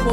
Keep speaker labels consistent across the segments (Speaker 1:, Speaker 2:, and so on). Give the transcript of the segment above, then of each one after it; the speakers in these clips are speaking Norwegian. Speaker 1: på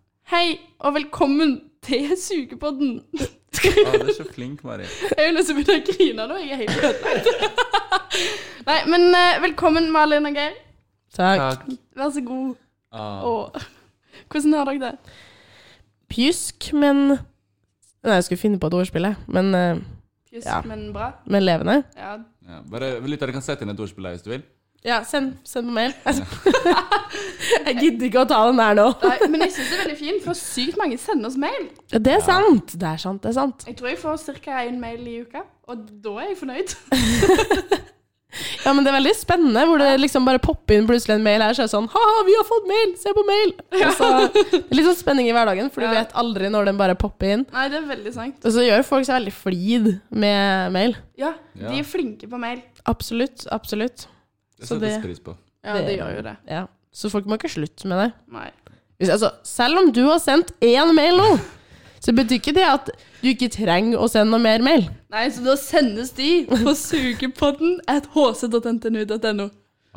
Speaker 2: Hei, og velkommen til Sugepodden.
Speaker 3: Å, du er så flink, Mari.
Speaker 2: Jeg har lyst til å begynne å grine nå. Jeg er helt ødelagt. Nei, men eh, velkommen, Malin og Geir.
Speaker 1: Takk.
Speaker 3: Takk.
Speaker 2: Vær så god.
Speaker 3: Å,
Speaker 2: Og, hvordan har dere det?
Speaker 1: Pjusk, men Nei, jeg skulle finne på et ordspill, jeg. Men, eh,
Speaker 2: Just,
Speaker 1: Ja.
Speaker 2: men bra.
Speaker 1: men levende.
Speaker 2: Ja.
Speaker 3: ja. Bare lyttere kan sette inn et ordspill her hvis du vil.
Speaker 1: Ja, send, send på mail. jeg gidder ikke å ta den der nå.
Speaker 2: Nei, men jeg syns det er veldig fint, for sykt mange sender oss mail.
Speaker 1: Det er sant. Det er sant, det er sant.
Speaker 2: Jeg tror jeg får ca. én mail i uka, og da er jeg fornøyd.
Speaker 1: Ja, men det er veldig spennende hvor det liksom bare popper inn plutselig en mail her, så er det sånn Ha-ha, vi har fått mail! Se på mail! Og så det er Litt sånn spenning i hverdagen, for du
Speaker 2: Ja.
Speaker 1: vet aldri når den bare popper inn.
Speaker 2: Nei, det er veldig sant.
Speaker 1: Og så gjør folk seg veldig flid med mail.
Speaker 2: Ja,
Speaker 3: Ja.
Speaker 2: de er flinke på mail.
Speaker 1: Absolutt. Absolutt.
Speaker 3: Det
Speaker 1: Så
Speaker 3: settes
Speaker 1: det-
Speaker 3: pris på.
Speaker 2: Ja, det, gjør jo det.
Speaker 1: Ja. Så folk må ikke slutte med det.
Speaker 2: Nei.
Speaker 1: Hvis, altså, selv om du har sendt én mail nå, så betyr ikke det at du ikke trenger å sende noe mer mail.
Speaker 2: Nei, så da sendes de på sugepodden at hc.ntnu.no.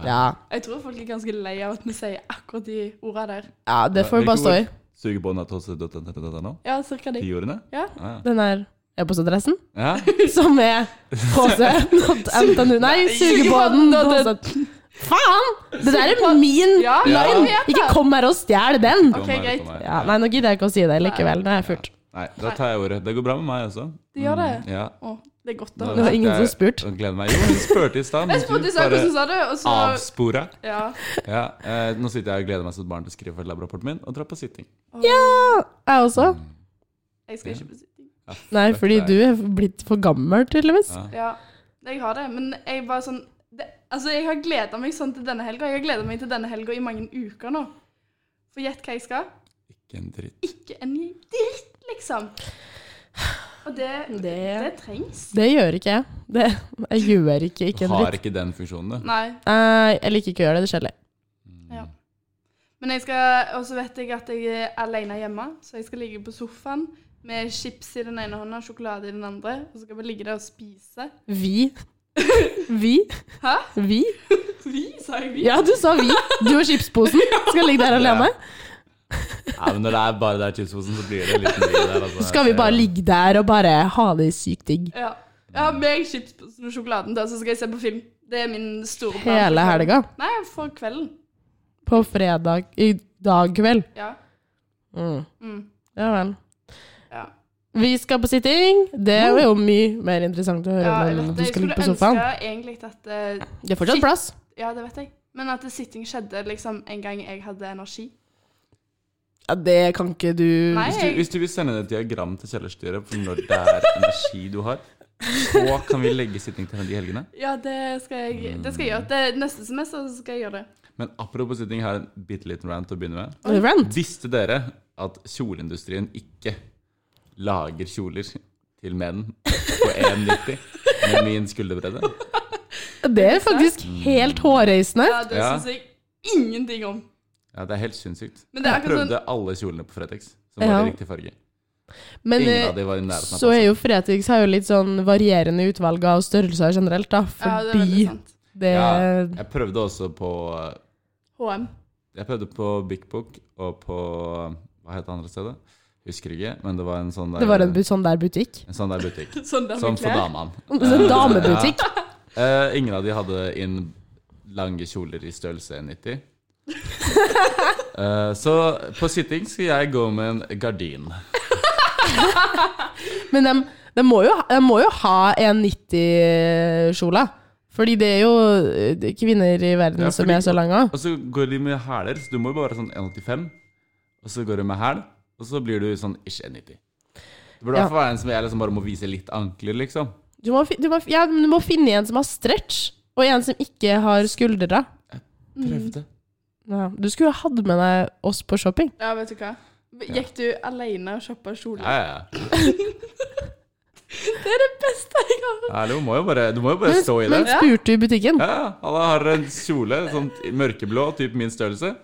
Speaker 1: Ja,
Speaker 2: Jeg tror folk er ganske lei av at vi sier akkurat de orda der.
Speaker 1: ja det får bare stå i.
Speaker 3: Sugebåndatose.no?
Speaker 2: Ja, cirka de.
Speaker 3: Tiårene?
Speaker 2: Ja.
Speaker 3: Ah,
Speaker 1: Den her e-postadressen,
Speaker 3: ja.
Speaker 1: som er hc.ntnu Nei, sugebåten. Faen! Det der er min
Speaker 2: Ja,
Speaker 3: Ja.
Speaker 2: jeg vet det.
Speaker 1: Ikke kom her og stjel den!
Speaker 2: Ok,
Speaker 3: Dommer på
Speaker 2: greit.
Speaker 3: meg.
Speaker 1: Ja, nei, nå gidder jeg ikke å si det likevel. Nå er jeg fullt.
Speaker 3: Nei, da tar jeg ordet. Det går bra med meg også.
Speaker 2: De gjør det.
Speaker 3: Ja.
Speaker 2: Å, det er godt
Speaker 3: Nå
Speaker 2: da.
Speaker 1: var ingen som spurte.
Speaker 3: Jeg gleder meg. Jo, hun spurte i stad, men
Speaker 2: Jeg spurte i stad hvordan sa du, og så
Speaker 3: avspora.
Speaker 2: Ja.
Speaker 3: Ja, eh, nå sitter jeg og gleder meg som et barn til å skrive ferdig labrapporten min og dra på sitting.
Speaker 1: Jeg også.
Speaker 2: Jeg skal ikke på sitting.
Speaker 1: Nei, fordi du er blitt for gammel, tydeligvis.
Speaker 3: Ja.
Speaker 2: Ja, jeg har det. Men jeg bare sånn det, Altså, jeg har gleda meg sånn til denne helga. Jeg har gleda meg til denne helga i mange uker nå. For gjett hva jeg skal?
Speaker 3: Ikke en dritt.
Speaker 2: Ikke en dritt, liksom. Og det, det,
Speaker 1: Det-
Speaker 2: trengs.
Speaker 1: Det gjør ikke jeg. Det, jeg gjør ikke, ikke
Speaker 3: Du
Speaker 1: en
Speaker 3: har
Speaker 1: dritt.
Speaker 3: ikke den funksjonen, du.
Speaker 2: Nei.
Speaker 1: Nei, jeg liker ikke å gjøre det, det skjer litt.
Speaker 2: Ja. Men jeg skal Og så vet jeg at jeg er aleine hjemme, så jeg skal ligge på sofaen med chips i den ene hånda og sjokolade i den andre. Og så skal vi ligge der og spise.
Speaker 1: Vi. Vi.
Speaker 2: Hæ?
Speaker 1: Vi.
Speaker 2: Vi, sa jeg. Vi.
Speaker 1: Ja, du sa vi. Du og chipsposen skal ligge der alene.
Speaker 3: Ja, men når det er bare der chipsposen, så blir det en liten dritt der. Altså.
Speaker 1: Skal vi bare ligge der og bare ha det sykt digg
Speaker 2: Ja. Jeg har med chips og sjokoladen, da, så skal jeg se på film. Det er min store plan.
Speaker 1: hele helga?
Speaker 2: Nei, for kvelden.
Speaker 1: På fredag i dag kveld?
Speaker 2: Ja.
Speaker 1: Mm.
Speaker 2: Mm.
Speaker 1: Ja vel.
Speaker 2: ja.
Speaker 1: Vi skal på sitting. Det er jo mye mer interessant å høre
Speaker 2: ja jeg
Speaker 1: om enn at du skal
Speaker 2: vet det. Jeg skulle
Speaker 1: ligge på sofaen.
Speaker 2: ønske egentlig at eh,
Speaker 1: Det er fortsatt
Speaker 2: Shit.
Speaker 1: plass.
Speaker 2: Ja, det vet jeg. Men at det sitting skjedde liksom en gang jeg hadde energi.
Speaker 1: Ja, det kan ikke du
Speaker 2: Nei,
Speaker 3: Hvis du,
Speaker 2: jeg,
Speaker 3: hvis du vil sende et diagram til kjellerstyret for når det er energi du har, så kan vi legge sitting til de helgene.
Speaker 2: ja, det skal jeg, det skal jeg gjøre. Det, neste semester så skal jeg gjøre det.
Speaker 3: Men apropos sitting, jeg har en bitte liten rant å begynne med.
Speaker 1: Rant.
Speaker 3: Visste dere at kjoleindustrien ikke lager kjoler til menn på 1,90 med min skulderbredde?
Speaker 1: Det er faktisk helt hårreisende.
Speaker 2: Ja, det
Speaker 3: Ja.
Speaker 2: syns jeg ingenting om.
Speaker 3: Ja, det er helt sinnssykt.
Speaker 2: Men det er
Speaker 3: Jeg
Speaker 2: akkurat
Speaker 3: prøvde
Speaker 2: sånn
Speaker 3: alle kjolene på Fretex som var
Speaker 1: Ja.
Speaker 3: i riktig farge.
Speaker 1: Men
Speaker 3: Ingen
Speaker 1: eh,
Speaker 3: av de var i nærheten av
Speaker 1: så er jo Fretex har jo litt sånn varierende utvalg av størrelser generelt, da.
Speaker 2: Ja, det er veldig
Speaker 1: Fordi
Speaker 2: sant.
Speaker 1: det
Speaker 3: Ja, jeg prøvde også på eh,
Speaker 2: HM.
Speaker 3: Jeg prøvde på Big Book og på Hva het det andre stedet? Husker ikke, men det var en sånn der
Speaker 1: Det var en bu- sånn der butikk.
Speaker 3: en sånn der butikk.
Speaker 2: Sånn der
Speaker 3: Som
Speaker 2: med
Speaker 3: for
Speaker 2: klær.
Speaker 3: damene.
Speaker 1: En sånn damebutikk.
Speaker 3: Eh, ingen av de hadde inn lange kjoler i størrelse 90. Eh, så på sitting skal jeg gå med en gardin.
Speaker 1: Men de, må, jo, ha- dem må jo ha en 90-kjola. Fordi det er jo eh, det er kvinner i verden
Speaker 3: Ja,
Speaker 1: som
Speaker 3: fordi-
Speaker 1: er så lange.
Speaker 3: Og så går de med hæler, så du må jo bare være sånn 1,85. Og så går du med hæl, og så blir du sånn ish 1,90. Det burde i
Speaker 1: Ja.
Speaker 3: hvert fall være en som jeg liksom bare må vise litt ankler, liksom.
Speaker 1: Du må, fi- du, må, ja, men du må finne en som har stretch, og en som ikke har skuldre.
Speaker 3: Prøvde.
Speaker 1: Mm. Ja. Du skulle ha hatt med deg oss på shopping.
Speaker 2: Ja, vet du hva. Gikk du alene og shoppa kjole?
Speaker 3: Ja, ja, ja.
Speaker 2: Det er det beste jeg har hørt!
Speaker 3: Hallo, må jo bare, du må jo bare
Speaker 1: Men,
Speaker 3: stå i
Speaker 1: men
Speaker 3: det.
Speaker 1: spurte du i butikken?
Speaker 3: Ja, ja. Alle har en kjole, sånn mørkeblå, typ min størrelse.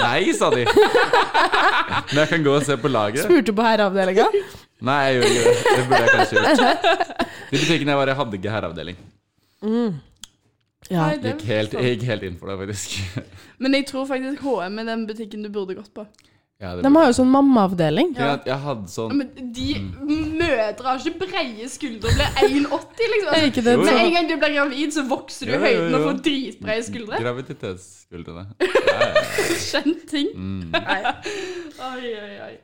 Speaker 3: Nei, sa de. Men jeg kan gå og se på lageret.
Speaker 1: Spurte du på herreavdelinga?
Speaker 3: Nei, jeg gjorde ikke det. Det burde jeg kanskje gjort. De butikkene jeg var i, hadde ikke herreavdeling.
Speaker 1: Ja.
Speaker 2: Nei, det
Speaker 3: Gikk helt,
Speaker 2: forstår
Speaker 3: jeg
Speaker 2: jeg.
Speaker 3: gikk helt inn for det, faktisk.
Speaker 2: Men jeg tror faktisk HM er den butikken du burde gått på.
Speaker 3: Ja, det
Speaker 1: De har jo sånn mammaavdeling.
Speaker 3: burde- Jeg- Jeg hadde
Speaker 2: Ja,
Speaker 3: sånn
Speaker 2: Men de mødre har ikke breie skuldre og blir 1,80, liksom.
Speaker 1: Er ikke det
Speaker 3: Jo, jo.
Speaker 2: Med
Speaker 1: sånn?
Speaker 2: en gang du blir gravid, så vokser du i
Speaker 3: Jo, jo, Mm. jo.
Speaker 2: høyden og får dritbreie skuldre.
Speaker 3: graviditetsskuldrene. Ja, ja.
Speaker 2: Kjent ting.
Speaker 3: Mm.
Speaker 2: Oi, oi, oi.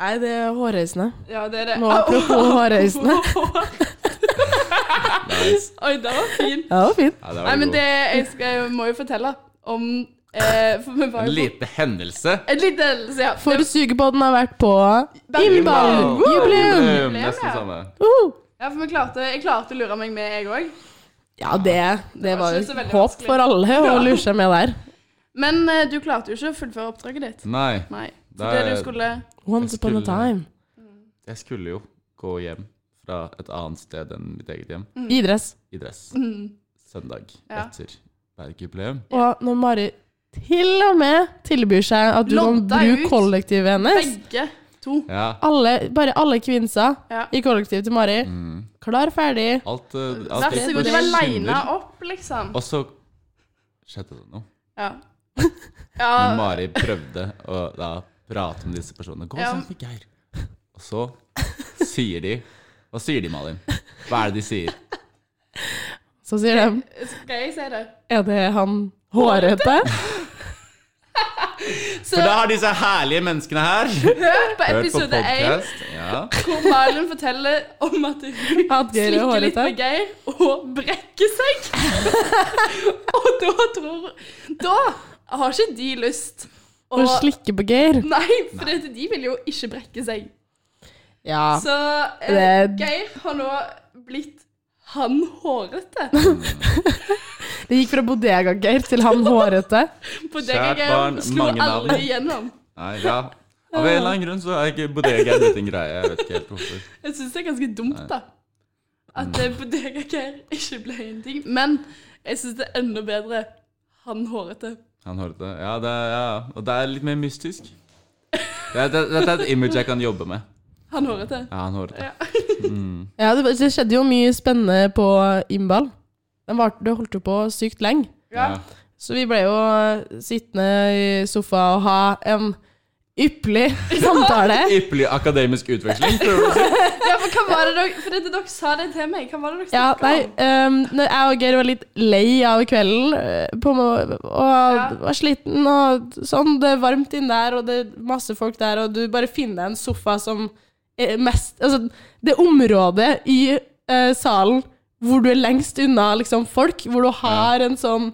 Speaker 1: Nei, det er hårreisende.
Speaker 2: Ja, det er det.
Speaker 1: Nå apropos hårreisende.
Speaker 3: Nice.
Speaker 2: Oi, den var fin.
Speaker 1: Ja, det var fint.
Speaker 3: Ja, det var
Speaker 2: Nei, men
Speaker 3: god.
Speaker 2: det, jeg, skal, jeg må jo fortelle om eh, for vi var
Speaker 3: En
Speaker 2: jo på-
Speaker 3: liten hendelse.
Speaker 2: En liten hendelse, ja.
Speaker 1: For sugepodden har vært på Innball!
Speaker 3: Wow.
Speaker 1: Jubileum!
Speaker 3: Jubileum, Nesten samme.
Speaker 1: Uhu.
Speaker 2: ja for vi klarte, jeg klarte å lure meg med, jeg òg.
Speaker 1: Ja, det, det
Speaker 2: var
Speaker 1: var
Speaker 2: ikke så
Speaker 1: jo
Speaker 2: veldig
Speaker 1: håp
Speaker 2: vanskelig.
Speaker 1: for alle å lure seg med der.
Speaker 2: Men eh, du klarte jo ikke å fullføre oppdraget ditt.
Speaker 3: Nei,
Speaker 2: Nei. Så
Speaker 3: Det
Speaker 2: det
Speaker 3: er-
Speaker 2: du skulle
Speaker 1: Once upon a time.
Speaker 3: jeg skulle jo gå hjem fra et annet sted enn mitt eget hjem
Speaker 1: Idretts.
Speaker 3: i dress
Speaker 2: mm,
Speaker 3: søndag
Speaker 2: Ja.
Speaker 3: etter Bergjubileum.
Speaker 1: Og når Mari til og med tilbyr seg at du kan
Speaker 2: Lodda
Speaker 1: bruke
Speaker 2: ut.
Speaker 1: kollektivet hennes
Speaker 2: Begge to.
Speaker 3: Ja.
Speaker 1: alle, Bare alle kvinner
Speaker 2: Ja.
Speaker 1: i kollektivet til Mari.
Speaker 3: Mm.
Speaker 1: Klar, ferdig.
Speaker 3: Alt, eh, alt
Speaker 2: Vær
Speaker 3: gikk
Speaker 2: så
Speaker 3: på
Speaker 2: god, de var
Speaker 3: skinner.
Speaker 2: lina opp, liksom.
Speaker 3: Og så skjedde det noe.
Speaker 2: Ja.
Speaker 3: Men
Speaker 2: ja.
Speaker 3: Mari prøvde å da prate med disse personene. Gå
Speaker 2: Ja.
Speaker 3: sammen med Geir. Og så sier de Hva sier de, Malin? Hva er det de sier?
Speaker 1: Så sier de
Speaker 2: Skal jeg si det?
Speaker 1: Er det han hårete?
Speaker 2: Så
Speaker 3: For da har disse herlige menneskene her
Speaker 2: hør på
Speaker 3: hørt på
Speaker 2: episode én
Speaker 3: podkast. Ja.
Speaker 2: hvor Malin forteller om at hun
Speaker 1: At Geir er
Speaker 2: slikker litt
Speaker 1: hårete.
Speaker 2: med Geir og brekker seg. og da tror Da har ikke de lyst å
Speaker 1: Og slikke på Geir?
Speaker 2: Nei, for dette, de vil jo ikke brekke seg.
Speaker 1: Ja.
Speaker 2: Så eh,
Speaker 1: Det-
Speaker 2: Geir har nå blitt han hårete.
Speaker 1: Det gikk fra bodega-Geir til han hårete.
Speaker 2: På deg,
Speaker 3: Kjært
Speaker 2: Geir.
Speaker 3: barn,
Speaker 2: Slo
Speaker 3: mange navn.
Speaker 2: aldri igjennom.
Speaker 3: Nei, ja. Av en eller annen grunn så er ikke bodega blitt en greie. Jeg vet ikke helt hvorfor.
Speaker 2: Jeg syns det er ganske dumt, da. At eh, Bodega Geir ikke ble en ting. Men jeg syns det er enda bedre han hårete.
Speaker 3: Han hørte det. Ja, det er, ja. Og det er litt mer mystisk. Det er, det, det er et image jeg kan jobbe med.
Speaker 2: Han hårete.
Speaker 3: Ja, han hørte det.
Speaker 1: Ja, det, det skjedde jo mye spennende på innball. Den var, det holdt jo på sykt lenge.
Speaker 3: Ja.
Speaker 1: Så vi ble jo sittende i sofa og ha en ypperlig samtale.
Speaker 3: Ypperlig akademisk utveksling. prøver du å si.
Speaker 2: Ja, for hva var det dere For dette, dere sa det til meg. Hva var det dere
Speaker 1: Ja,
Speaker 2: snakket
Speaker 1: nei, um, når jeg og Geir var litt lei av kvelden eh, på, må-
Speaker 2: Ja.
Speaker 1: og var sliten og sånn, det er varmt inn der, og det er masse folk der, og du bare finner deg en sofa som er mest Altså, det området i eh, salen hvor du er lengst unna liksom, folk, hvor du har en sånn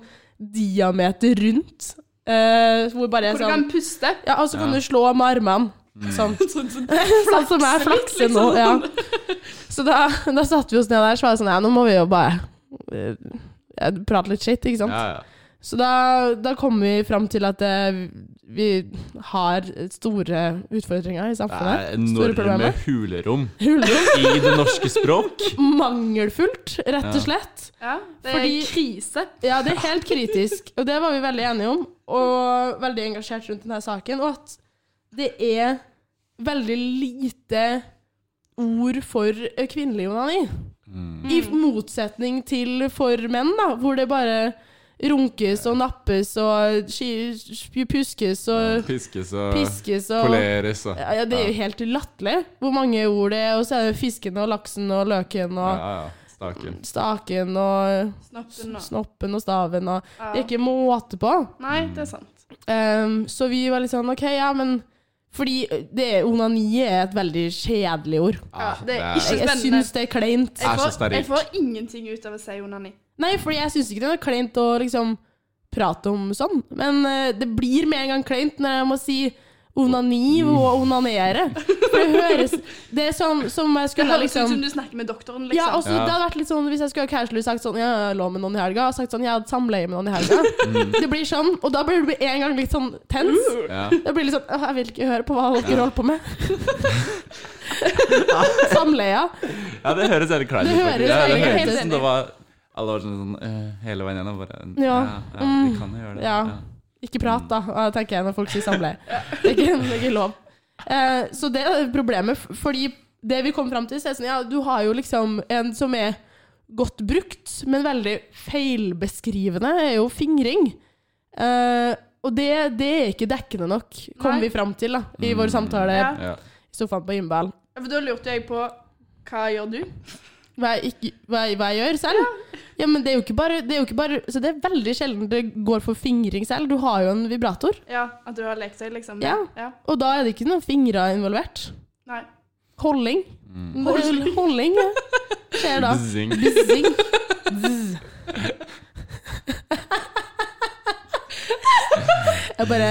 Speaker 1: diameter rundt, eh, hvor bare er
Speaker 2: om? Hvor du kan
Speaker 1: sånn
Speaker 2: puste.
Speaker 1: Ja, og så kan du slå med armene. Sånn.
Speaker 2: Sånn som
Speaker 1: Sånn som jeg
Speaker 2: Flakse
Speaker 1: flakser
Speaker 2: litt,
Speaker 1: nå.
Speaker 2: liksom.
Speaker 1: Ja. Så da, da satte vi oss ned der, så var det sånn Ja, nå må vi jo bare eh, ja, prate litt shit, ikke sant?
Speaker 3: Ja, ja.
Speaker 1: Så da, da kom vi fram til at eh, vi har store utfordringer i
Speaker 3: Det er
Speaker 1: samfunnet. Store
Speaker 3: enorme
Speaker 1: problemer.
Speaker 3: hulrom
Speaker 1: Hulrom.
Speaker 3: i det norske språk.
Speaker 1: Mangelfullt, rett og
Speaker 3: Ja.
Speaker 1: slett.
Speaker 2: Ja, det er
Speaker 1: Fordi-
Speaker 2: krise.
Speaker 1: Ja, det er helt kritisk, og det var vi veldig enige om, og veldig engasjert rundt denne saken, og at det er veldig lite ord for eh, kvinnelig onani. I motsetning til for menn, da, hvor det bare runkes og nappes og sky- puskes og
Speaker 3: Piskes og
Speaker 1: piskes og
Speaker 3: poleres og
Speaker 1: ja, ja, det er jo helt latterlig hvor mange ord det er, og så er det fisken og laksen og løken
Speaker 3: ja,
Speaker 1: og
Speaker 3: ja, ja. Staken.
Speaker 1: staken og
Speaker 2: Snappen nå.
Speaker 1: snoppen og staven og
Speaker 2: Ja.
Speaker 1: Det er ikke måte på.
Speaker 2: Nei, det er sant.
Speaker 1: Ehm, så vi var litt sånn OK, ja, men Fordi det, onani er et veldig kjedelig ord.
Speaker 3: Ah,
Speaker 2: Ja, det er
Speaker 1: Jeg,
Speaker 2: ikke-
Speaker 1: jeg
Speaker 2: Spennende.
Speaker 1: syns det er kleint.
Speaker 3: Er
Speaker 2: Jeg
Speaker 3: så
Speaker 2: får,
Speaker 3: sterilt.
Speaker 2: jeg får ingenting ut av å si onani.
Speaker 1: Nei, fordi jeg syns ikke det er kleint å liksom prate om sånn. Men eh, det blir med en gang kleint når jeg må si onani og onanere. For det høres Det er sånn som jeg
Speaker 2: Det
Speaker 1: skulle ha
Speaker 2: høres ut
Speaker 1: liksom
Speaker 2: som du snakker med doktoren,
Speaker 1: ja,
Speaker 2: liksom.
Speaker 1: også, Det hadde vært litt sånn Hvis jeg skulle ha casually sagt sånn Ja, jeg lå med noen i helga, og sagt sånn Jeg hadde samleie med noen i helga. Det blir sånn, og da blir du med en gang litt sånn tens.
Speaker 3: Ja.
Speaker 1: Det blir litt sånn «Åh, Jeg vil ikke høre på hva dere holder på med. Samleia.
Speaker 3: ja, det høres helt kleint
Speaker 1: Det
Speaker 3: ut.
Speaker 1: høres
Speaker 3: faktisk. ja,
Speaker 2: egentlig helt
Speaker 3: ut som
Speaker 2: enig.
Speaker 3: det var Alle var sånn, sånn eh, hele veien gjennom. Bare, ja,
Speaker 1: Ja. mm.
Speaker 3: ja, vi kan jo gjøre det.
Speaker 1: Ja. Ikke prat, da, eh, tenker jeg når folk sier samleie. Det er ikke, det er ikke lov. Eh, så det er problemet, f- fordi det vi kom fram til, så er det sånn, ja, du har jo liksom en som er godt brukt, men veldig feilbeskrivende, er jo fingring. Eh, og det, det er ikke dekkende nok, kom
Speaker 2: Nei.
Speaker 1: vi fram til da, i vår
Speaker 3: Mm.
Speaker 1: samtale
Speaker 2: Ja.
Speaker 3: Ja.
Speaker 1: i sofaen på Gymbal.
Speaker 2: Ja, For da lurte jeg på hva gjør du?
Speaker 1: Hva jeg, ikke, hva, jeg, hva jeg gjør selv? Ja. men det er jo ikke bare, det er jo ikke bare Så det er veldig sjelden det går for fingring selv. Du har jo en vibrator.
Speaker 2: Ja, At du har lekt deg, liksom?
Speaker 1: Ja.
Speaker 2: ja.
Speaker 1: Og da er det ikke noen fingre involvert.
Speaker 2: Nei.
Speaker 1: Holding.
Speaker 3: Mm.
Speaker 1: Holding, Holding ja. skjer da.
Speaker 3: Zing.
Speaker 1: Bizzing. Bzz. Jeg bare,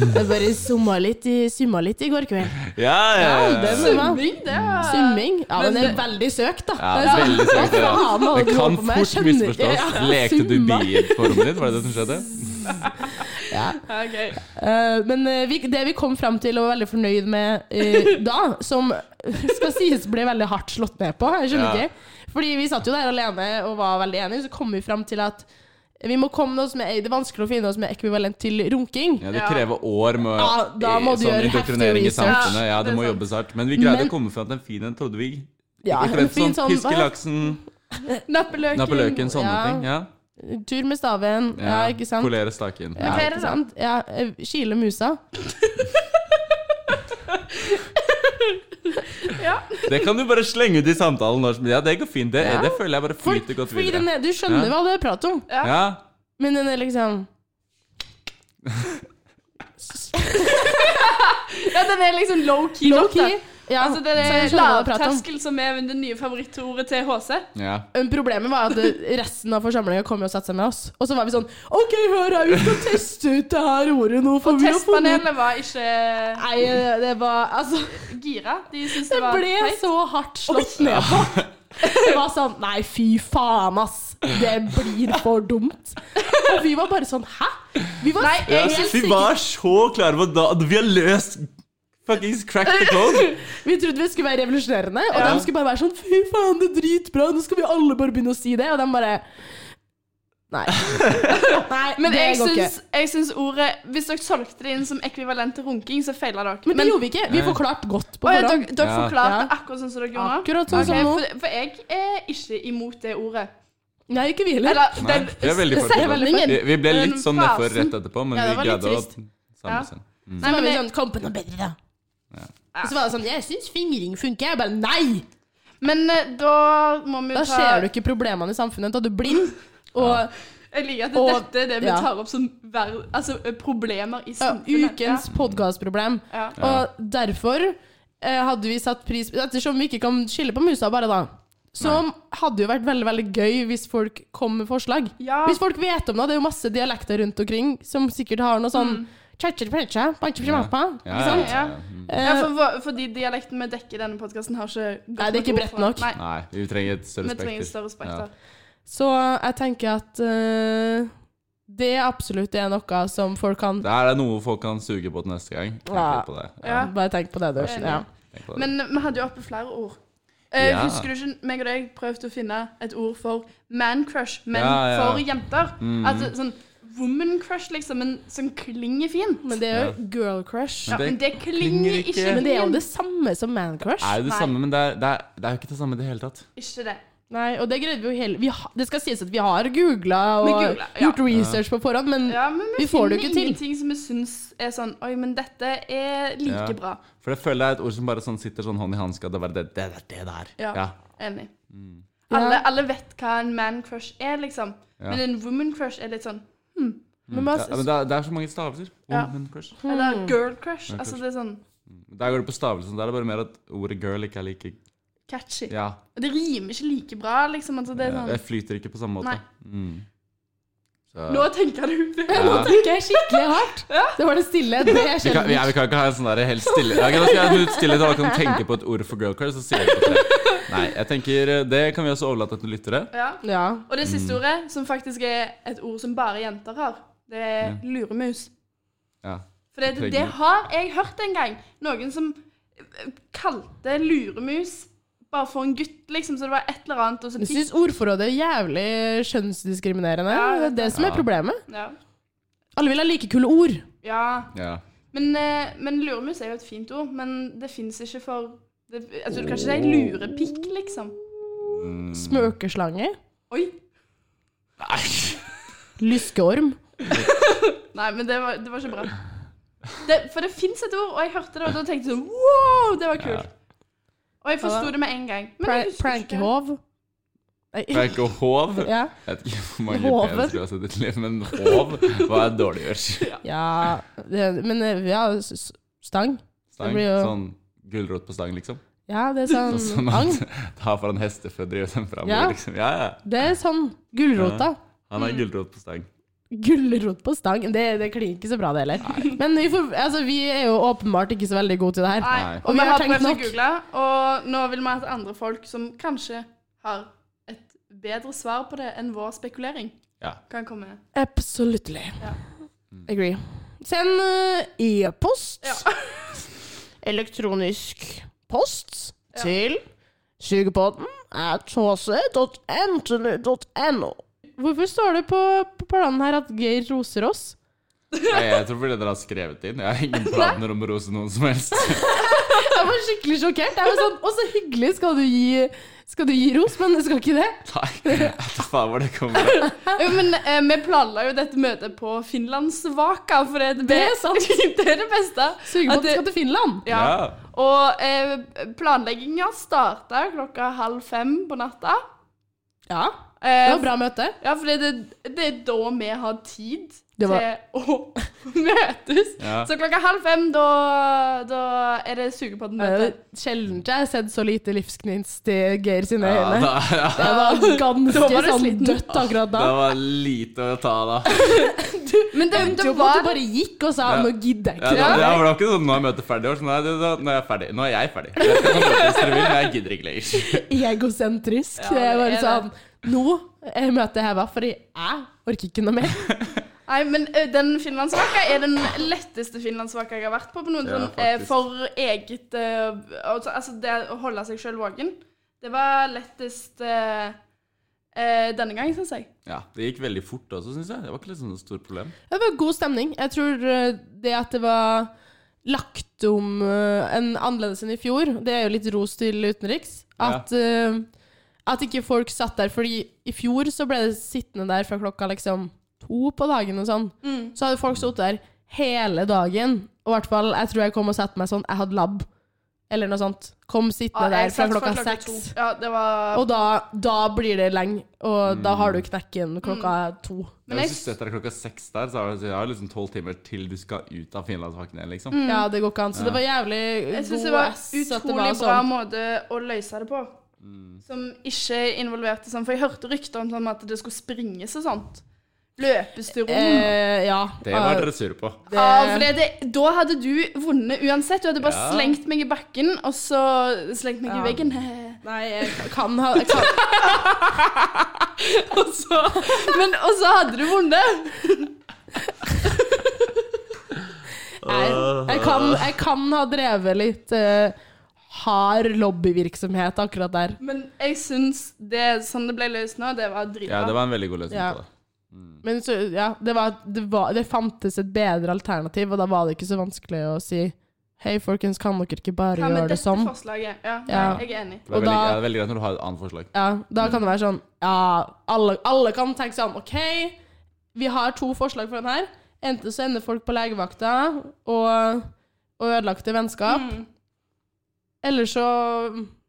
Speaker 1: jeg bare summa litt, i, summa litt i går kveld.
Speaker 3: Ja, ja,
Speaker 1: Ja,
Speaker 3: ja.
Speaker 1: den- Summa.
Speaker 2: det var
Speaker 1: Summing. Ja, men det er
Speaker 2: Men-
Speaker 1: veldig søkt, da. sånn,
Speaker 3: Ja, veldig søkt,
Speaker 1: Hva
Speaker 3: ja.
Speaker 1: faen holder
Speaker 3: Det
Speaker 1: du
Speaker 3: kan
Speaker 1: på med? Jeg
Speaker 3: fort
Speaker 1: skjønner ikke.
Speaker 3: misforstås.
Speaker 1: Ja,
Speaker 3: Lekte du
Speaker 1: summa.
Speaker 3: biformen din? Var det det som skjedde?
Speaker 1: Ja.
Speaker 2: Ja, gøy.
Speaker 1: Eh, men eh, vi, det vi kom fram til og var veldig fornøyd med eh, da, som skal sies ble veldig hardt slått ned på, jeg skjønner
Speaker 3: Ja.
Speaker 1: ikke. Fordi vi satt jo der alene og var veldig enige, så kom vi fram til at vi må komme med oss med, det er vanskelig å finne oss med ekvivalent til runking.
Speaker 3: Ja, Det
Speaker 2: Ja.
Speaker 3: krever år med
Speaker 1: Ja, da må du
Speaker 3: sånn
Speaker 1: gjøre heftig
Speaker 3: indoktrinering i
Speaker 1: research.
Speaker 3: samfunnet. Ja,
Speaker 2: Ja, det
Speaker 3: det
Speaker 2: er
Speaker 3: må
Speaker 2: sant.
Speaker 3: jobbes hardt. Men vi greide
Speaker 1: Men-
Speaker 3: å komme fram til en fin en, trodde vi.
Speaker 1: Ja,
Speaker 3: Ikke
Speaker 1: en
Speaker 3: fremst
Speaker 1: fin
Speaker 3: sånn
Speaker 1: sånn-
Speaker 3: piske laksen,
Speaker 2: Nappeløken.
Speaker 3: nappe løken, sånne
Speaker 1: Ja.
Speaker 3: ting. Ja,
Speaker 1: Tur med staven, ja,
Speaker 3: Ja,
Speaker 1: ikke sant?
Speaker 3: Polere staken.
Speaker 1: Ja,
Speaker 2: hva er det
Speaker 1: ikke
Speaker 2: da?
Speaker 1: sant? Ja, eh, kile musa.
Speaker 3: Det kan du bare slenge ut i samtalen. når som- Ja, det går fint. Det,
Speaker 1: Ja.
Speaker 3: det føler jeg bare
Speaker 1: For,
Speaker 3: flyter godt
Speaker 1: fordi den
Speaker 3: videre.
Speaker 1: er, du skjønner
Speaker 3: Ja.
Speaker 1: hva det er prat om,
Speaker 2: Ja.
Speaker 3: Ja,
Speaker 1: men den er liksom
Speaker 2: Ja, den er liksom low-key.
Speaker 1: low-key. Ja,
Speaker 2: Altså, det
Speaker 1: så jeg
Speaker 2: er
Speaker 1: skjønner hva det er prat om.
Speaker 2: lavterskel som er det nye favorittordet til HC.
Speaker 3: ja.
Speaker 1: Men Problemet var at eh, resten av forsamlinga kom jo og satte seg med oss. Og så var vi sånn OK, hør her, vi skal teste ut det her ordet nå. For vi har funnet
Speaker 2: Testpanelet var ikke
Speaker 1: Nei, eh, det var Altså,
Speaker 2: gira. De
Speaker 1: det
Speaker 2: syntes det var
Speaker 1: ble
Speaker 2: teit.
Speaker 1: så hardt slått ned på. Det var sånn Nei, fy faen, ass. Det blir for dumt. Og vi var bare sånn Hæ? Vi var
Speaker 2: Nei, jeg-
Speaker 1: helt
Speaker 3: vi
Speaker 1: sikre-
Speaker 3: var så klare på da Vi har løst fuckings crack the code!
Speaker 1: Vi trodde vi skulle være revolusjonerende, og
Speaker 2: Ja.
Speaker 1: de skulle bare være sånn Fy faen, det er dritbra, nå skal vi alle bare begynne å si det. Og de bare Nei. Nei
Speaker 2: Men
Speaker 1: det
Speaker 2: jeg
Speaker 1: går ikke.
Speaker 2: syns, jeg syns ordet Hvis dere solgte det inn som ekvivalent til runking, så feila dere.
Speaker 1: Men det gjorde vi ikke. Vi
Speaker 3: Nei.
Speaker 1: forklarte godt på
Speaker 2: Å, ja,
Speaker 1: forhånd.
Speaker 2: dere, dere
Speaker 3: Ja.
Speaker 2: forklarte
Speaker 1: Ja.
Speaker 2: akkurat sånn som dere gjorde nå?
Speaker 1: Akkurat sånn
Speaker 2: Ok,
Speaker 1: som nå.
Speaker 2: for, for jeg er ikke imot det ordet.
Speaker 1: Nei, ikke vi heller.
Speaker 2: Eller
Speaker 3: Nei, vi er veldig
Speaker 1: ser
Speaker 3: fornøyd.
Speaker 1: veldig
Speaker 2: Setningen.
Speaker 3: Vi, vi ble
Speaker 2: Den
Speaker 3: litt sånn nedfor
Speaker 2: fasen.
Speaker 3: rett etterpå, men
Speaker 1: Ja, det
Speaker 3: vi
Speaker 1: var litt
Speaker 3: greide å
Speaker 1: trist.
Speaker 3: samle
Speaker 2: Ja.
Speaker 3: oss. igjen. Mm.
Speaker 2: Nei,
Speaker 1: Så var
Speaker 2: men
Speaker 1: vi
Speaker 2: jeg,
Speaker 1: sånn Kom på noe bedre, da. Og så var det sånn Jeg syns fingring funker. Jeg bare Nei!
Speaker 2: men eh, da må vi
Speaker 1: Da
Speaker 2: jo ta
Speaker 1: ser du ikke problemene i samfunnet. Da er du blind. Og
Speaker 2: Jeg liker at
Speaker 1: Og-
Speaker 2: dette er det vi
Speaker 1: ja.
Speaker 2: tar opp som ver altså, eh, problemer i
Speaker 1: ja,
Speaker 2: samfunnet.
Speaker 1: ukens podkastproblem.
Speaker 2: ja. Ja.
Speaker 1: Og derfor eh, hadde vi satt pris Ettersom vi ikke kan skille på musa, bare da. Som hadde jo vært veldig veldig gøy hvis folk kom med forslag.
Speaker 2: Ja.
Speaker 1: Hvis folk vet om det. Det er jo masse dialekter rundt omkring som sikkert har noe sånn
Speaker 2: Mm.
Speaker 1: tja, tja, tja, tja, tja, tja, tja,
Speaker 3: Ja,
Speaker 1: Ikke sant?
Speaker 3: ja, ja. Mm.
Speaker 1: Eh,
Speaker 2: Ja, for, for, fordi dialekten vi dekker i denne podkasten, har ikke godt
Speaker 1: Nei, det er ikke
Speaker 2: ord
Speaker 1: bredt
Speaker 2: for-
Speaker 1: nok.
Speaker 2: Nei,
Speaker 3: Nei, vi trenger et større
Speaker 2: vi
Speaker 3: spekter.
Speaker 2: trenger større spekter.
Speaker 1: Så jeg tenker at eh, det absolutt er noe som folk kan
Speaker 3: Det her er noe folk kan suge på til neste gang. Tenk
Speaker 1: Ja.
Speaker 3: litt på det.
Speaker 2: Ja.
Speaker 1: Bare tenk på det, du. Ja.
Speaker 3: Tenk på det.
Speaker 2: Men eh, vi hadde jo oppe flere ord. Eh,
Speaker 3: Ja.
Speaker 2: Husker du ikke meg og deg prøvde å finne et ord for man-crush, men
Speaker 3: Ja, ja. Mm.
Speaker 2: for jenter? Altså sånn woman-crush, liksom, men som klinger fin.
Speaker 1: Men det er jo girl crush.
Speaker 2: Ja,
Speaker 3: det
Speaker 2: men det klinger
Speaker 3: klinger
Speaker 2: ikke
Speaker 3: ikke.
Speaker 2: fint.
Speaker 1: Men det er jo det samme som man crush.
Speaker 3: er jo det
Speaker 2: Nei.
Speaker 3: samme, men det er, det, er, det er jo ikke det samme i det hele tatt.
Speaker 2: Ikke det.
Speaker 1: Nei, og det greide vi jo hele vi ha, Det skal sies at vi har googla og
Speaker 2: Vi googlet, ja.
Speaker 1: gjort research på forhånd, men
Speaker 2: Ja, men vi,
Speaker 1: Vi får det jo
Speaker 2: finner
Speaker 1: ikke til.
Speaker 2: ingenting som vi syns er sånn Oi, men dette er like
Speaker 3: Ja.
Speaker 2: bra.
Speaker 3: For jeg føler det er et ord som bare sånn sitter sånn hånd i hanske. at Det er bare det, det, er det der.
Speaker 2: Ja.
Speaker 3: Ja. Mm.
Speaker 2: Enig. Alle, alle vet hva en man-crush er, liksom.
Speaker 3: Ja. Mm.
Speaker 2: Men en woman-crush er litt sånn
Speaker 1: men sånn, hmm.»
Speaker 3: Ja,
Speaker 1: man-
Speaker 3: men det, er, det er så mange stavelser.
Speaker 2: Ja.
Speaker 3: Woman crush.
Speaker 2: Eller girl-crush.
Speaker 3: Girl
Speaker 2: Altså,
Speaker 3: crush.
Speaker 2: det er sånn
Speaker 3: Der går det på stavelsen. Der er det bare mer at ordet girl ikke er like
Speaker 2: catchy.
Speaker 3: Ja.
Speaker 2: Og det rimer ikke like bra, liksom. Altså, det er sånn
Speaker 3: Det flyter ikke på samme måte.
Speaker 2: Nei.
Speaker 3: Mm. Så,
Speaker 2: Nå tenker du det.
Speaker 1: Nå tenker jeg skikkelig hardt. Det var det stille. Det er
Speaker 3: vi, kan, vi, ja,
Speaker 1: sjelden.
Speaker 3: vi kan ikke ha en sånn der helt stille Ok, Da skal jeg ha et minutt stille til alle kan tenke på et ord for girlcard, så sier jeg ikke det. Nei, jeg tenker eh, Det kan vi også overlate til lyttere.
Speaker 2: Ja.
Speaker 1: Ja.
Speaker 2: Og det
Speaker 3: Mm.
Speaker 2: siste ordet, som faktisk er et ord som bare jenter har, det er luremus.
Speaker 3: Ja.
Speaker 2: For det, det har jeg hørt en gang. Noen som eh, kalte luremus bare for en gutt, liksom. Så det var et eller annet. Og så
Speaker 1: Jeg syns ordforrådet er jævlig kjønnsdiskriminerende.
Speaker 2: Ja,
Speaker 1: Det er det som
Speaker 3: Ja.
Speaker 1: er problemet.
Speaker 2: ja.
Speaker 1: Alle vil ha like kule ord.
Speaker 2: ja.
Speaker 3: ja.
Speaker 2: Men, eh, men luremus er jo et fint ord. Men det fins ikke for det, altså, Du kan ikke si lurepikk, liksom.
Speaker 1: Smøkeslange.
Speaker 2: Oi.
Speaker 3: Nei.
Speaker 1: Lyskeorm.
Speaker 2: Nei, men det var, det var ikke bra. Det, for det fins et ord, og jeg hørte det, og da tenkte jeg sånn Wow, det var kult. Og jeg forsto det med en gang. Men
Speaker 1: Pra
Speaker 2: jeg husker ikke.
Speaker 1: prankehov. Nei.
Speaker 3: Det er ikke håv. Jeg
Speaker 1: Ja.
Speaker 3: vet ikke hvor mange
Speaker 1: Hoven.
Speaker 3: pen skulle ha sett i et liv, men håv var et dårlig gjørs.
Speaker 1: ja. Det, men eh, ja, s- s- stang.
Speaker 3: Stang.
Speaker 1: blir jo-
Speaker 3: Sånn gulrot på stang, liksom.
Speaker 1: Ja, det er sånn
Speaker 3: Sånn som
Speaker 1: Agn.
Speaker 3: at ta for en hestefødder og den framover,
Speaker 1: Ja.
Speaker 3: liksom. Ja, ja.
Speaker 1: Det er sånn gulrota.
Speaker 3: Han
Speaker 1: Mm.
Speaker 3: har gulrot på stang.
Speaker 1: Gulrot på stang. Det, det klinger ikke så bra, det heller. Men vi, får, altså, vi er jo åpenbart ikke så veldig gode til det her.
Speaker 2: Nei.
Speaker 1: Og
Speaker 2: Og
Speaker 1: vi
Speaker 2: vi
Speaker 1: har
Speaker 2: har
Speaker 1: tenkt
Speaker 2: prøvd å
Speaker 1: nok.
Speaker 2: google, og nå vil vi at andre folk som kanskje har et bedre svar på det enn vår spekulering,
Speaker 3: Ja.
Speaker 2: kan komme.
Speaker 1: Absolutely.
Speaker 2: Ja.
Speaker 1: Agree. Send eh, e-post.
Speaker 2: Ja.
Speaker 1: Elektronisk post til sugepodden at hc.ntnu.no. Hvorfor står det på, på planen her at Geir roser oss?
Speaker 3: Nei, jeg tror fordi dere har skrevet det inn. Jeg har ingen planer om å rose noen som helst.
Speaker 1: Jeg var skikkelig sjokkert. Jeg var sånn, Å, så hyggelig skal du gi, skal du gi ros, men du skal ikke det.
Speaker 3: Nei, jeg vet ikke faen hvor det kommer fra.
Speaker 2: Jo, men eh, vi planla jo dette møtet på Finlandsvaka, for det,
Speaker 1: Det er sant.
Speaker 2: det er det beste. At
Speaker 1: Sugepodden
Speaker 2: det-
Speaker 1: skal til Finland.
Speaker 2: Ja. Og eh, planlegginga starta klokka halv fem på natta.
Speaker 1: Ja, det
Speaker 2: Eh,
Speaker 1: var bra møte.
Speaker 2: Ja, for det, det er da vi har tid
Speaker 1: Det var-
Speaker 2: til å møtes.
Speaker 3: Ja.
Speaker 2: Så klokka halv fem, da, da er det sugepodden-møte.
Speaker 1: Eh, Sjelden jeg har sett så lite livsgnist i Geir sine
Speaker 3: Ja,
Speaker 1: øyne.
Speaker 3: da, ja.
Speaker 1: Det var ganske
Speaker 2: Da var du
Speaker 1: sånn
Speaker 2: sliten.
Speaker 1: dødt akkurat da.
Speaker 3: Det var lite å ta av.
Speaker 2: Men det,
Speaker 1: Du
Speaker 2: det
Speaker 1: måtte
Speaker 2: var
Speaker 1: bare gikk og sa
Speaker 3: Ja.
Speaker 1: 'nå gidder jeg
Speaker 3: Ja,
Speaker 1: ikke'.
Speaker 3: det, det
Speaker 1: mer».
Speaker 3: var ikke sånn 'nå er møtet ferdig'. Det var sånn, Nei, det, det, nå er jeg ferdig. Nå er jeg ferdig. Jeg kan møte hvis dere vil, men jeg gidder ikke lenger.
Speaker 1: Egosentrisk.
Speaker 2: Ja,
Speaker 1: det
Speaker 2: det
Speaker 1: er bare
Speaker 2: er
Speaker 1: sånn Nå er møtet heva, fordi jeg orker ikke noe mer.
Speaker 2: Nei, men ø, den finlandsvaka er den letteste finlandsvaka jeg har vært på. på noen
Speaker 3: Ja,
Speaker 2: sånn, eh,
Speaker 3: faktisk.
Speaker 2: For eget eh, altså, altså, det å holde seg sjøl våken. Det var lettest eh, eh, denne gangen, syns jeg.
Speaker 3: Ja, Det gikk veldig fort også, syns jeg. Det var ikke liksom noe stort problem.
Speaker 1: Det var god stemning. Jeg tror eh, det at det var lagt om eh, en annerledes enn i fjor, det er jo litt ros til utenriks.
Speaker 3: Ja.
Speaker 1: At, eh, at ikke folk satt der, fordi i fjor så ble det sittende der fra klokka liksom to på dagen og sånn.
Speaker 2: Mm.
Speaker 1: Så hadde folk sittet der hele dagen. Og i hvert fall, jeg tror jeg kom og satte meg sånn, jeg hadde lab, eller noe sånt. Kom sittende
Speaker 2: Ja, jeg
Speaker 1: der fra
Speaker 2: satt
Speaker 1: klokka
Speaker 2: to.
Speaker 1: seks.
Speaker 2: Ja, det var
Speaker 1: Og da, da blir det lenge, og da har du knekken klokka
Speaker 2: Mm.
Speaker 1: to.
Speaker 2: Men
Speaker 3: hvis
Speaker 2: jeg-
Speaker 3: du setter deg klokka seks der, så har du- så jeg har liksom tolv timer til du skal ut av finlandsvaken igjen, liksom.
Speaker 1: Ja, det går ikke an. Så det var jævlig
Speaker 2: Mm. Jeg syns det
Speaker 1: god
Speaker 2: var
Speaker 1: ass at det
Speaker 2: utrolig
Speaker 1: var
Speaker 2: bra
Speaker 1: sånn.
Speaker 2: måte å løse det på.
Speaker 3: Mm.
Speaker 2: Som ikke involverte sånn. For jeg hørte rykter om sånn at det skulle springes og sånt. Løpes til rom.
Speaker 1: Eh, ja.
Speaker 3: Det var
Speaker 1: eh,
Speaker 3: dere sure på.
Speaker 1: det-
Speaker 2: ja, Ah, for det, det, da hadde du vunnet uansett. Du hadde bare
Speaker 3: Ja.
Speaker 2: slengt meg i bakken, og så slengt meg
Speaker 1: Ja.
Speaker 2: i veggen.
Speaker 1: Nei, jeg kan ha jeg kan,
Speaker 2: Og så, men, og så hadde du vunnet.
Speaker 1: jeg, jeg, kan, jeg kan ha drevet litt eh, hard lobbyvirksomhet akkurat der.
Speaker 2: Men jeg syns det sånn det ble løst nå, det var dritbra.
Speaker 3: Ja, det var en veldig god løsning
Speaker 1: Ja.
Speaker 3: på det.
Speaker 1: Men så, ja, det, var, det, var, det fantes et bedre alternativ, og da var det ikke så vanskelig å si Hei, folkens, kan dere ikke bare
Speaker 2: Hva
Speaker 1: gjøre
Speaker 2: med
Speaker 1: det
Speaker 2: dette
Speaker 1: sånn?
Speaker 2: forslaget? Ja,
Speaker 1: Ja.
Speaker 2: jeg er enig.
Speaker 3: Det var
Speaker 1: Og
Speaker 3: veldig,
Speaker 1: da-
Speaker 3: ja, det er veldig greit når du har et annet forslag.
Speaker 1: Ja, da kan det være sånn Ja, alle, alle kan tenke sånn OK, vi har to forslag for den her. Enten så ender folk på legevakta og, og ødelagte vennskap,
Speaker 2: Mm.
Speaker 1: eller så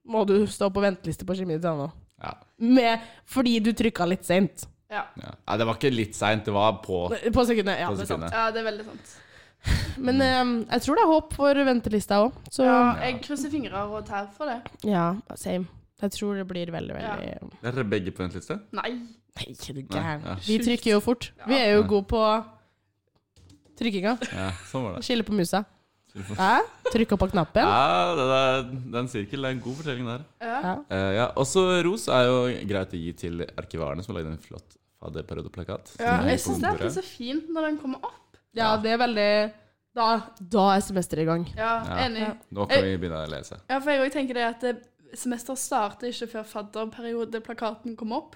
Speaker 1: må du stå på venteliste på Kjemiditano.
Speaker 3: Ja.
Speaker 1: Med, fordi du trykka litt seint.
Speaker 2: Ja.
Speaker 3: Ja. Nei, det var ikke litt seint, det var på
Speaker 1: På sekundet. Ja,
Speaker 3: På
Speaker 1: det er sant.
Speaker 3: sekundet. Mm.
Speaker 2: ja, det er veldig sant.
Speaker 1: Men eh, jeg tror det er håp for ventelista òg, så
Speaker 2: Ja,
Speaker 1: ja.
Speaker 2: jeg krysser fingre og tær for det.
Speaker 1: same. Jeg tror det blir veldig, veldig
Speaker 3: Dere er begge på venteliste?
Speaker 2: Nei.
Speaker 1: Nei, ikke du
Speaker 3: Nei, ja.
Speaker 1: gæren. Vi trykker jo fort. Vi er jo
Speaker 3: Ja.
Speaker 1: gode på trykkinga.
Speaker 3: Ja, sånn var det.
Speaker 1: Skille på musa.
Speaker 3: Skille på-
Speaker 1: Hæ? Trykke på knappen.
Speaker 3: Ja, det er, det er en sirkel. Det er en god fortelling, det her.
Speaker 2: Ja.
Speaker 1: Ja.
Speaker 3: Eh, ja, Også ros er jo greit å gi til arkivarene, som har lagd en flott fadderperiodeplakat.
Speaker 2: Ja, jeg
Speaker 3: Som
Speaker 2: syns det
Speaker 3: ligger på
Speaker 2: er
Speaker 3: bordet.
Speaker 2: så fint når den kommer opp.
Speaker 1: ja, det er veldig Da, da er semesteret i gang.
Speaker 2: Ja,
Speaker 3: Ja.
Speaker 2: Enig.
Speaker 1: Ja.
Speaker 3: Nå kan vi begynne å lese.
Speaker 2: Ja, for jeg også tenker det at det- semester starter ikke før fadderperiodeplakaten kommer opp.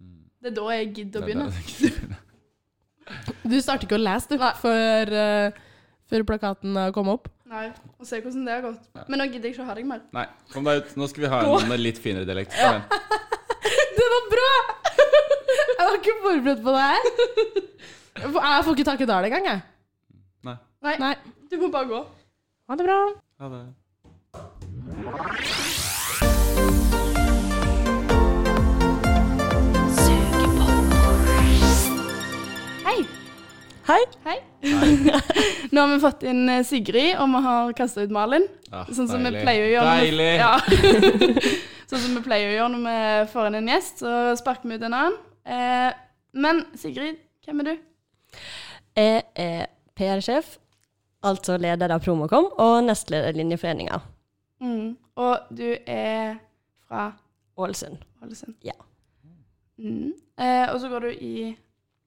Speaker 3: Mm.
Speaker 2: Det er da jeg gidder å begynne.
Speaker 1: Du starter ikke å lese, du, før, eh, før plakaten eh, kom opp.
Speaker 2: Nei, og se hvordan det har gått. Men nå gidder jeg ikke å ha deg mer.
Speaker 3: Nei, kom deg ut. Nå skal vi ha en med litt finere dialekt. Kom igjen.
Speaker 1: Det var bra! Jeg var ikke forberedt på det her. Jeg får ikke tak i Dahl engang, jeg.
Speaker 3: Nei.
Speaker 2: Nei,
Speaker 1: Nei.
Speaker 2: du må bare gå.
Speaker 1: Ha det bra.
Speaker 3: Ha det.
Speaker 2: Hei.
Speaker 4: Hei.
Speaker 2: Hei. Nå har vi fått inn eh, Sigrid, og vi har kasta ut Malin.
Speaker 3: Ja,
Speaker 2: Sånn som
Speaker 3: Ah, deilig.
Speaker 2: vi pleier å gjøre. når-
Speaker 3: Deilig!
Speaker 2: Ja. sånn som vi pleier å gjøre når vi får inn en gjest, så sparker vi ut en annen. Eh, men Sigrid, hvem er du?
Speaker 4: Jeg er PR-sjef, altså leder av Promocom og nestleder i Linjeforeninga
Speaker 2: Mm. Og du er fra
Speaker 4: Ålesund.
Speaker 2: Ålesund.
Speaker 4: Ja.
Speaker 2: Mm. Eh, og så går du i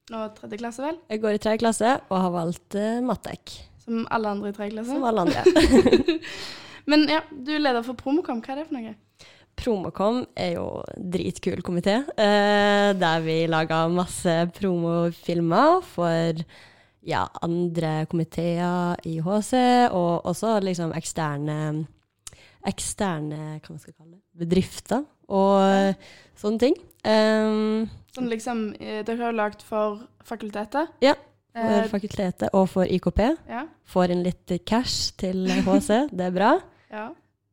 Speaker 2: nå tredje klasse, vel?
Speaker 4: Jeg går i tredje klasse og har valgt uh, Matek,
Speaker 2: Som alle andre i tredje klasse.
Speaker 4: som alle andre.
Speaker 2: Men ja, du er leder for Promocom. Hva er det for noe?
Speaker 4: Promocom er jo en dritkul komité, eh, der vi lager masse promofilmer for ja, andre komiteer i HC, og også liksom eksterne eksterne, hva man skal kalle det, bedrifter og sånne ting. Um,
Speaker 2: Sånn liksom, eh, Dere har jo lagd for fakultetet.
Speaker 4: Ja,
Speaker 2: Eh,
Speaker 4: For fakultetet og for IKP.
Speaker 2: ja,
Speaker 4: Får inn litt cash til HC, det er bra.
Speaker 2: ja.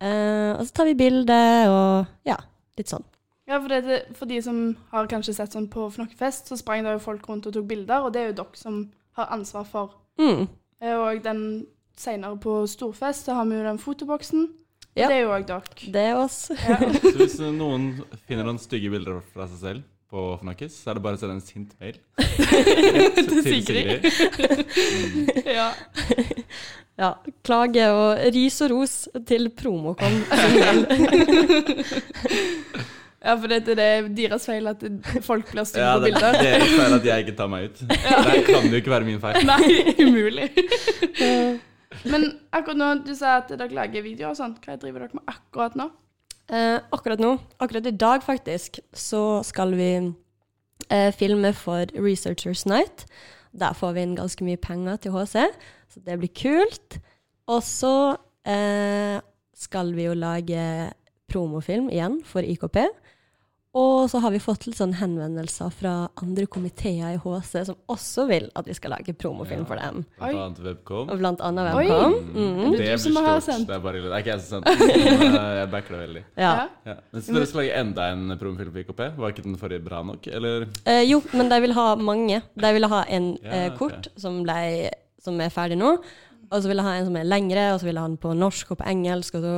Speaker 4: Eh, og så tar vi bilde og ja, litt sånn.
Speaker 2: Ja, for, det, det- for de som har kanskje sett sånn på Fnokkefest, så sprang det jo folk rundt og tok bilder, og det er jo dere som har ansvar for.
Speaker 4: Mm.
Speaker 2: Eh, Og den senere på Storfest, så har vi jo den fotoboksen. og
Speaker 4: Ja.
Speaker 2: Det er jo òg dere.
Speaker 4: Det er oss.
Speaker 3: Så hvis noen finner noen stygge bilder fra seg selv på Fnakkis, så er det bare å sende en sint mail til Sigrid.
Speaker 2: ja.
Speaker 4: Ja, klage og ris og ros til Promocom.
Speaker 2: ja, for det, det er deres feil at det- folk blir stygge
Speaker 3: Ja,
Speaker 2: på
Speaker 3: det, det
Speaker 2: bilder.
Speaker 3: er feil at jeg ikke tar meg ut. Det kan jo ikke være min feil.
Speaker 2: Nei, umulig. Men akkurat nå, du sa at dere lager videoer og sånt. Hva driver dere med akkurat nå?
Speaker 4: Eh, akkurat nå, akkurat i dag faktisk, så skal vi eh, filme for Researchers Night. Der får vi inn ganske mye penger til HC, så det blir kult. Og så eh, skal vi jo lage promofilm igjen for IKP. Og så har vi fått litt sånn henvendelser fra andre komiteer i HC som også vil at vi skal lage promofilm for dem.
Speaker 3: Blant annet Webcom.
Speaker 4: Og blant annet
Speaker 2: Oi.
Speaker 4: Webcom.
Speaker 3: Mm,
Speaker 2: Det
Speaker 3: Det
Speaker 2: er du
Speaker 3: blir
Speaker 2: som har
Speaker 3: stort.
Speaker 2: sendt.
Speaker 3: Det er bare ille. Det er ikke jeg som sendte den. eh, Jeg backer det veldig.
Speaker 4: Ja.
Speaker 3: Ja. Men så dere skal lage enda en promofilm på IKP? Var ikke den forrige bra nok, eller? Mm.
Speaker 4: Eh, jo, men de vil ha mange. De vil ha en
Speaker 3: Ja,
Speaker 4: eh,
Speaker 3: ok.
Speaker 4: kort som, ble, som er ferdig nå, og så vil de ha en som er lengre, og så vil de ha den på norsk og på engelsk, og så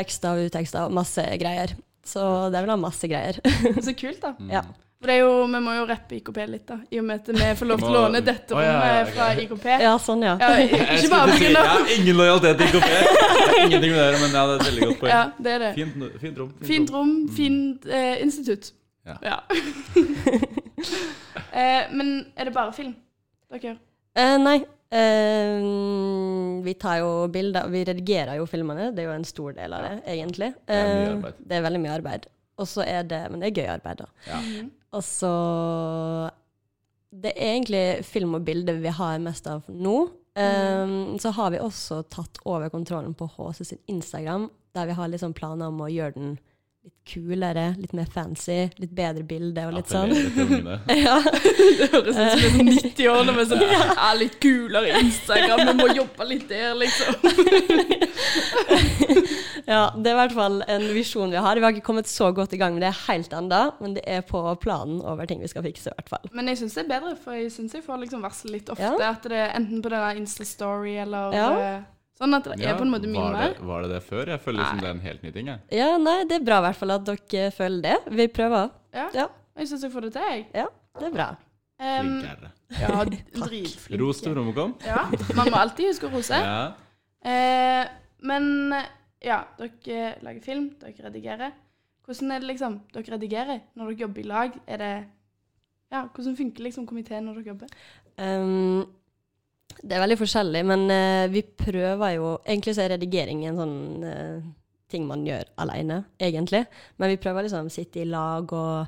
Speaker 4: tekster og uttekster og masse greier. Så de vil ha masse greier.
Speaker 2: Så kult, da.
Speaker 4: ja.
Speaker 2: For det er jo, Vi må jo rappe IKP litt, da. I og med at vi får lov til å
Speaker 3: Må-
Speaker 2: låne dette
Speaker 3: Å, ja, ja,
Speaker 2: rommet
Speaker 3: ok.
Speaker 2: fra IKP.
Speaker 4: ja, sånn, ja.
Speaker 2: Ja, ikke bare
Speaker 3: Jeg skulle si,
Speaker 2: pga.
Speaker 3: Jeg har ingen lojalitet til IKP. Det er Ingenting med dere, men ja, det er et veldig
Speaker 2: Ja,
Speaker 3: godt poeng.
Speaker 2: det er det.
Speaker 3: Fint, no- fint rom. Mm.
Speaker 2: Fint rom, fint eh, institutt.
Speaker 3: Ja.
Speaker 2: eh, men er det bare film dere gjør?
Speaker 4: Eh, nei. Eh, vi tar jo bilder, vi redigerer jo filmene. Det er jo en stor del av det, egentlig.
Speaker 3: Det er mye
Speaker 4: Eh,
Speaker 3: arbeid.
Speaker 4: det er veldig mye arbeid. Og så er det, Men det er gøy arbeid, da.
Speaker 3: Ja.
Speaker 4: Og så Det er egentlig film og bilde vi har mest av nå. Um, så har vi også tatt over kontrollen på HC sin Instagram, der vi har litt sånn planer om å gjøre den litt kulere, litt mer fancy, litt bedre bilde og litt sånn.
Speaker 3: Appellerer til ungene.
Speaker 4: Ja.
Speaker 2: Det høres ut som en 90-årene med sånn ja, litt kulere Instagram, vi må jobbe litt der, liksom.
Speaker 4: ja, det er i hvert fall en visjon vi har. Vi har ikke kommet så godt i gang med det helt ennå, men det er på planen over ting vi skal fikse, i hvert fall.
Speaker 2: Men jeg syns det er bedre, for jeg syns jeg får liksom varsel litt ofte
Speaker 4: Ja.
Speaker 2: at det er enten på denne Insta-story eller
Speaker 4: Ja.
Speaker 2: eh, Sånn at det
Speaker 3: Ja,
Speaker 2: er på en måte mye
Speaker 3: var
Speaker 2: mer.
Speaker 3: det, var det det før? Jeg føler som det er en helt ny ting. Jeg.
Speaker 4: Ja, nei, det er bra i hvert fall at dere føler det. Vi prøver.
Speaker 2: Ja.
Speaker 4: Ja.
Speaker 2: Jeg syns jeg får det til, jeg.
Speaker 4: Det er bra.
Speaker 2: Em,
Speaker 3: Flinkere.
Speaker 2: ja, dritflink.
Speaker 3: Ros til Romokom.
Speaker 2: Ja, man må alltid huske å rose.
Speaker 3: Ja.
Speaker 2: Eh, men ja, dere lager film, dere redigerer. Hvordan er det liksom, dere redigerer når dere jobber i lag? Er det, ja, hvordan funker liksom komiteen når dere jobber?
Speaker 4: Um, det er veldig forskjellig, men eh, vi prøver jo Egentlig så er redigering en sånn eh, ting man gjør alene, egentlig. Men vi prøver liksom å sitte i lag og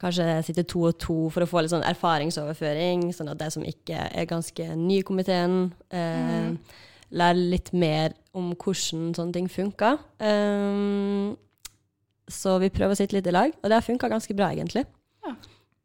Speaker 4: kanskje sitte to og to for å få litt sånn erfaringsoverføring, sånn at de som ikke er ganske nye i komiteen, eh, lærer litt mer om hvordan sånne ting funker. Um, så vi prøver å sitte litt i lag, og det har funka ganske bra, egentlig.
Speaker 2: Ja.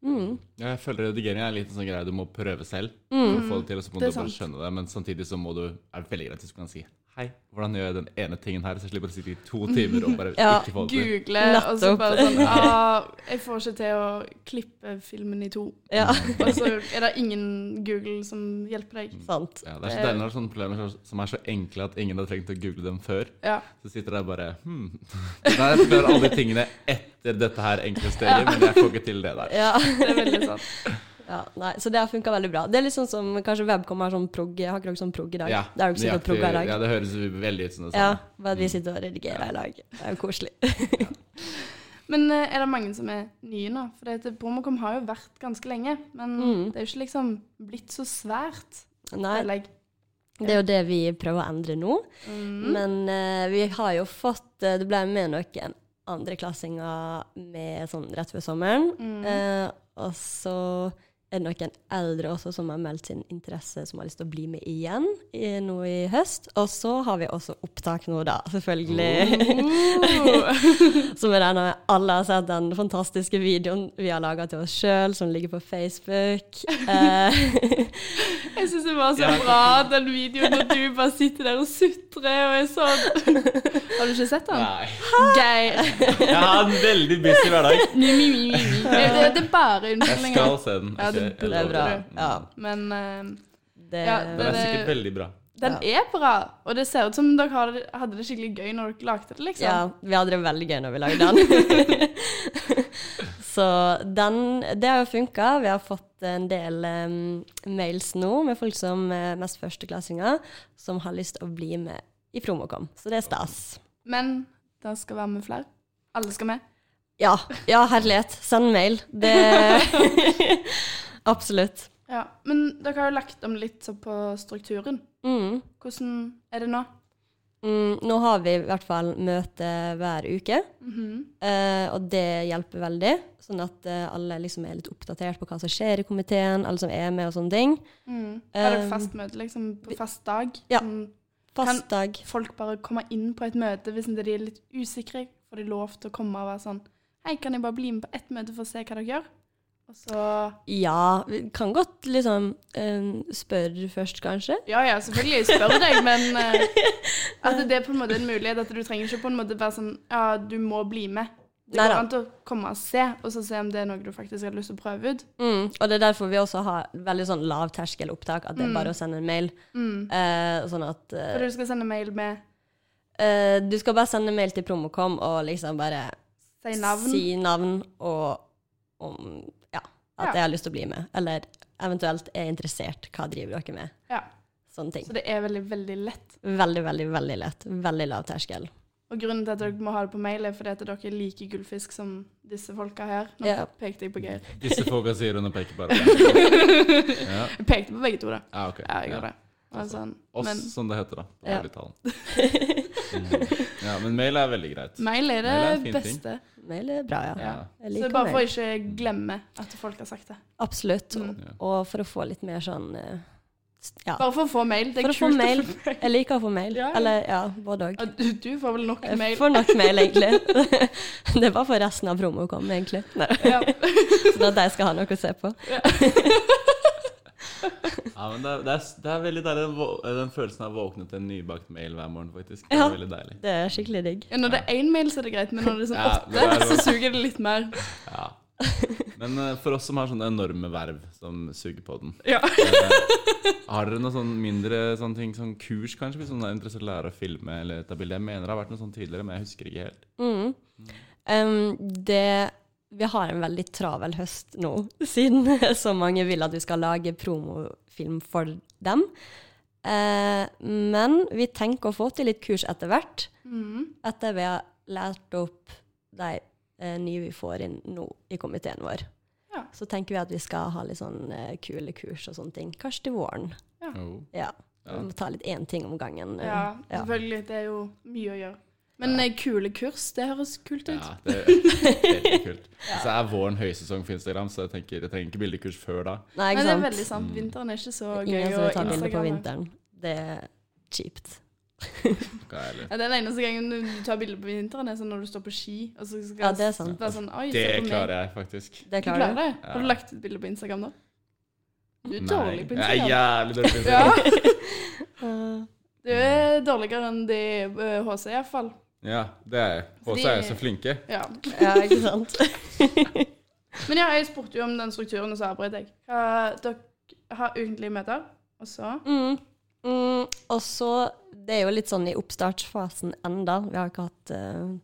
Speaker 4: Mm.
Speaker 3: Ja, Jeg føler redigering er litt en sånn greie du må prøve selv.
Speaker 4: Mm.
Speaker 3: For å få det til, og så må du
Speaker 2: Det er
Speaker 3: bare
Speaker 2: sant.
Speaker 3: skjønne det. Men samtidig så må du er det veldig greit hvis du kan si Hei, hvordan gjør jeg den ene tingen her? Så jeg slipper å sitte i to timer og bare
Speaker 4: Ja,
Speaker 3: ikke få det til.
Speaker 2: Google, og så
Speaker 4: Nettopp.
Speaker 2: bare sånn ah, Jeg får ikke til å klippe filmen i to.
Speaker 4: Ja,
Speaker 3: Mm.
Speaker 2: Og så er det ingen Google som hjelper deg.
Speaker 4: sant.
Speaker 3: Ja, det er så deilig når det er sånne problemer som- som er så enkle at ingen har trengt å google dem før.
Speaker 2: Ja.
Speaker 3: Så sitter jeg bare hmm. Nei, jeg forklarer alle de tingene etter dette her enkle steget, men jeg får ikke til det der.
Speaker 4: Ja.
Speaker 2: Det er veldig sant.
Speaker 4: Ja, nei, så det har funka veldig bra. Det er litt sånn som kanskje Webcom har sånn prog. Har ikke dere sånn prog i dag?
Speaker 3: Ja,
Speaker 4: det har dere sikkert
Speaker 3: nøyaktig.
Speaker 4: progga i dag.
Speaker 3: Ja, det høres veldig ut som det
Speaker 4: Ja,
Speaker 3: samme. Mm.
Speaker 4: bare at vi sitter og redigerer i lag. Det er jo koselig.
Speaker 2: Men eh, er det mange som er nye nå? For dette Promocom har jo vært ganske lenge. Men
Speaker 4: Mm.
Speaker 2: det er jo ikke liksom blitt så svært.
Speaker 4: Nei,
Speaker 2: føler jeg.
Speaker 4: det er jo det vi prøver å endre nå.
Speaker 2: Mm.
Speaker 4: Men eh, vi har jo fått eh, Det ble med noen andreklassinger med sånn rett før sommeren.
Speaker 2: Mm.
Speaker 4: Eh, og så er det noen eldre også som har meldt sin interesse, som har lyst til å bli med igjen i, nå i høst. Og så har vi også opptak nå, da, selvfølgelig.
Speaker 2: Oh.
Speaker 4: Som jeg regner med alle har sett den fantastiske videoen vi har laga til oss sjøl, som ligger på Facebook. Eh,
Speaker 2: Jeg syns det var så bra, den videoen når du bare sitter der og sutrer og er sånn Har du ikke sett den?
Speaker 3: Nei.
Speaker 2: Geir.
Speaker 3: Jeg har en veldig busy hverdag.
Speaker 2: Mi, mi, mi, mi. Det, det- det er bare
Speaker 3: Jeg skal
Speaker 2: unnskyldninger.
Speaker 3: se den.
Speaker 2: Ja,
Speaker 3: ikke-
Speaker 2: det-
Speaker 3: jeg
Speaker 4: det er
Speaker 3: lover
Speaker 4: bra.
Speaker 3: det.
Speaker 4: Ja,
Speaker 2: Men eh,
Speaker 4: det,
Speaker 2: Ja,
Speaker 3: Den er
Speaker 2: det-
Speaker 3: sikkert veldig bra.
Speaker 2: den er bra, og det ser ut som dere har det- hadde det skikkelig gøy når dere lagde det, liksom.
Speaker 4: ja, vi hadde det veldig gøy når vi lagde den. Så den Det har jo funka. Vi har fått en del em, mails nå med folk som eh, mest førsteklassinger, som har lyst til å bli med i Promocom. Så det er stas.
Speaker 2: Men det skal være med flere. Alle skal med.
Speaker 4: Ja, ja, herlighet. Send mail. Det Absolutt.
Speaker 2: Ja, Men dere har jo lagt om litt så på strukturen.
Speaker 4: Mm.
Speaker 2: Hvordan er det nå?
Speaker 4: Mm, nå har vi i hvert fall møte hver uke, eh, og det hjelper veldig. Sånn at eh, alle liksom er litt oppdatert på hva som skjer i komiteen, alle som er med og sånne ting.
Speaker 2: Mm. Har dere
Speaker 4: Um,
Speaker 2: fast møte liksom, på fast dag?
Speaker 4: ja.
Speaker 2: Sånn,
Speaker 4: Fast dag.
Speaker 2: folk bare komme inn på et møte hvis de er litt usikre? Får de lov til å komme og være sånn Hei, kan jeg bare bli med på ett møte for å se hva dere gjør? Og så
Speaker 4: Ja, vi kan godt liksom eh, spørre først, kanskje.
Speaker 2: Ja ja, selvfølgelig, jeg spør deg, men eh, at det er på en måte en mulighet. At du trenger ikke på en måte være sånn Ja, du må bli med. Det
Speaker 4: Neida.
Speaker 2: går an til å komme og se, og så se om det er noe du faktisk har lyst til å prøve ut.
Speaker 4: Mm. Mm. Og det er derfor vi også har veldig sånn lavterskelopptak, at det er bare å sende en mail. Eh, sånn at
Speaker 2: Mm.
Speaker 4: eh,
Speaker 2: For du skal sende mail med
Speaker 4: eh, Du skal bare sende mail til Promocom og liksom bare
Speaker 2: Si navn.
Speaker 4: si navn og om ja,
Speaker 2: Ja.
Speaker 4: at jeg har lyst til å bli med. Eller eventuelt er interessert. Hva driver dere med?
Speaker 2: Ja.
Speaker 4: Sånne ting.
Speaker 2: Så det er veldig, veldig lett.
Speaker 4: Veldig, veldig veldig lett. Veldig lav terskel.
Speaker 2: Og grunnen til at dere må ha det på mail, er fordi at dere liker gullfisk som disse folka her. Nå
Speaker 4: Ja.
Speaker 2: pekte jeg på Geir.
Speaker 3: Disse folka sier hun og peker bare på meg. Ja,
Speaker 2: Jeg pekte på begge to, da.
Speaker 3: ja, ok.
Speaker 2: Ja, jeg gjorde det. Men
Speaker 3: Altså,
Speaker 2: sånn.
Speaker 3: Oss,
Speaker 2: Men
Speaker 3: som det heter, da. på
Speaker 4: Ja.
Speaker 3: ærlig talen. Mm. Ja, men mail er veldig greit.
Speaker 2: mail er det
Speaker 3: Mail er en fin
Speaker 2: beste.
Speaker 4: Mail er bra, ja.
Speaker 3: Ja.
Speaker 4: Jeg
Speaker 2: Så
Speaker 4: liker
Speaker 2: bare for å
Speaker 4: mail.
Speaker 2: ikke glemme at folk har sagt det.
Speaker 4: Absolutt.
Speaker 2: Mm.
Speaker 4: Og, og for å få litt mer sånn eh, s- Ja.
Speaker 2: Bare for å få mail. Det er
Speaker 4: For å få
Speaker 2: kult
Speaker 4: mail.
Speaker 2: å få mail.
Speaker 4: Jeg liker å få mail.
Speaker 2: Ja, ja.
Speaker 4: Eller ja, både òg.
Speaker 2: Ja, du- Du får vel nok
Speaker 4: Jeg
Speaker 2: mail.
Speaker 4: får nok mail, egentlig. Det er bare for resten av promo kom, egentlig. Nei,
Speaker 2: Ja.
Speaker 4: Sånn at de skal ha noe å se på.
Speaker 3: Ja, men det er, det er, det er veldig deilig, den, vå- eh, den følelsen av å våkne til en nybakt mail hver morgen, faktisk. Det er
Speaker 4: Ja.
Speaker 3: veldig deilig.
Speaker 4: Det er skikkelig digg.
Speaker 2: Ja, når det er én mail, så er det greit, men når det er sånn
Speaker 3: Ja,
Speaker 2: åtte,
Speaker 3: det er
Speaker 2: så
Speaker 3: det.
Speaker 2: suger det litt mer.
Speaker 3: Ja. Men eh, for oss som har sånne enorme verv som suger på den
Speaker 2: Ja.
Speaker 3: eh, Har dere noen sånn mindre sånne ting, sånn kurs, kanskje, hvis noen er interessert i å lære å filme
Speaker 2: Mm.
Speaker 3: eller ta bilde? Jeg mener det har vært noe sånn tidligere, men jeg husker ikke helt.
Speaker 4: Mm. Um, Mm. det vi har en veldig travel høst nå, siden så mange vil at vi skal lage promofilm for dem. Eh, men vi tenker å få til litt kurs etter hvert,
Speaker 2: Mhm.
Speaker 4: etter vi har lært opp de eh, nye vi får inn nå i komiteen vår.
Speaker 2: Ja.
Speaker 4: Så tenker vi at vi skal ha litt sånn eh, kule kurs og sånne ting. Kanskje til våren.
Speaker 3: Jo.
Speaker 4: Ja.
Speaker 3: Ja.
Speaker 4: Vi må ta litt én ting om gangen. eh.
Speaker 2: Ja, selvfølgelig. Det er jo mye å gjøre. Men eh, kule kurs, det høres kult ut.
Speaker 3: Ja, det er helt kult. Så er våren høysesong for Instagram, så jeg tenker jeg trenger ikke bildekurs før da.
Speaker 4: Nei,
Speaker 2: Men
Speaker 4: ikke
Speaker 2: det er
Speaker 4: sant?
Speaker 2: veldig
Speaker 3: Mm.
Speaker 2: sant. Vinteren er ikke så gøy
Speaker 4: Ingen som
Speaker 2: å
Speaker 4: vil ta bilder på
Speaker 2: instagramme.
Speaker 4: vinteren. Det er kjipt.
Speaker 3: Hva er det?
Speaker 2: Ja, den eneste gangen du tar bilder på vinteren, er sånn når du står på ski. Og så skal
Speaker 4: Ja, det er sant.
Speaker 2: være sånn, Oi,
Speaker 3: Det
Speaker 2: se på meg.
Speaker 3: klarer jeg faktisk.
Speaker 4: Det
Speaker 2: Du
Speaker 4: klarer
Speaker 2: klarer
Speaker 4: du.
Speaker 2: det? Har
Speaker 3: Ja.
Speaker 2: du lagt ut bilde på Instagram da? Du er dårlig på
Speaker 3: Jeg er
Speaker 2: Instagram.
Speaker 3: jævlig dårlig på Instagram.
Speaker 2: Ja,
Speaker 4: Uh,
Speaker 2: du er dårligere enn de eh, HC i hvert fall.
Speaker 3: Ja, det er jeg. Og så er jeg så flinke.
Speaker 2: Ja.
Speaker 4: ja, ikke sant?
Speaker 2: Men ja, jeg spurte jo om den strukturen, og så avbrøt jeg. Hva, dere har ukentlige møter, og så
Speaker 4: Mm. Mm, og så Det er jo litt sånn i oppstartsfasen enda. Vi har ikke hatt eh,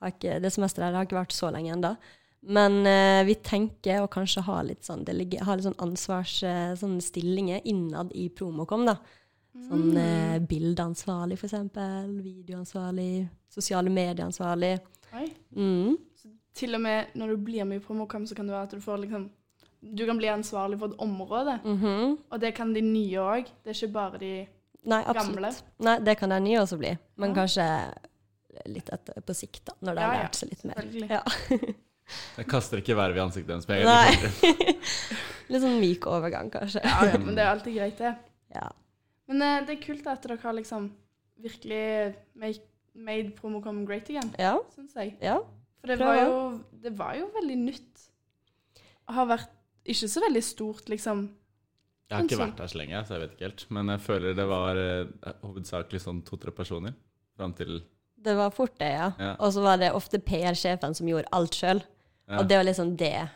Speaker 4: har ikke, Det semesteret her har ikke vært så lenge enda. Men eh, vi tenker å kanskje ha litt sånn, delege- ha litt sånn ansvars... eh, sånne stillinger innad i Promokom, da.
Speaker 2: Mm.
Speaker 4: Sånn eh, bildeansvarlig, for eksempel. Videoansvarlig. Sosiale medieansvarlig.
Speaker 2: Oi.
Speaker 4: Mm.
Speaker 2: Til og med når du blir med i Promocom, så kan det være at du får liksom Du kan bli ansvarlig for et område,
Speaker 4: Mhm.
Speaker 2: og det kan de nye òg. Det er ikke bare de
Speaker 4: Nei, absolutt.
Speaker 2: Gamle.
Speaker 4: Nei, det kan den nye også bli. Men
Speaker 2: Ja.
Speaker 4: kanskje litt etter, på sikt, da, når de har
Speaker 2: Ja, ja,
Speaker 4: lært seg litt mer.
Speaker 2: selvfølgelig.
Speaker 4: Ja.
Speaker 3: Jeg kaster ikke verv i ansiktet hennes med en gang.
Speaker 4: Nei. litt sånn myk overgang, kanskje.
Speaker 2: Ja, ja, men det er alltid greit, det.
Speaker 4: Ja.
Speaker 2: Men eh, det er kult at dere har liksom virkelig make, made Promocom great again,
Speaker 4: Ja.
Speaker 2: syns jeg.
Speaker 4: ja.
Speaker 2: For det
Speaker 4: Prøv
Speaker 2: var, jo, det var jo veldig nytt. Det har vært ikke så veldig stort, liksom.
Speaker 3: Jeg har ikke vært her så lenge, så jeg vet ikke helt. Men jeg føler det var eh, hovedsakelig sånn to-tre personer fram til
Speaker 4: Det var fort det, ja.
Speaker 3: Ja.
Speaker 4: Og så var det ofte PR-sjefen som gjorde alt sjøl.
Speaker 3: Ja.
Speaker 4: Og det var liksom det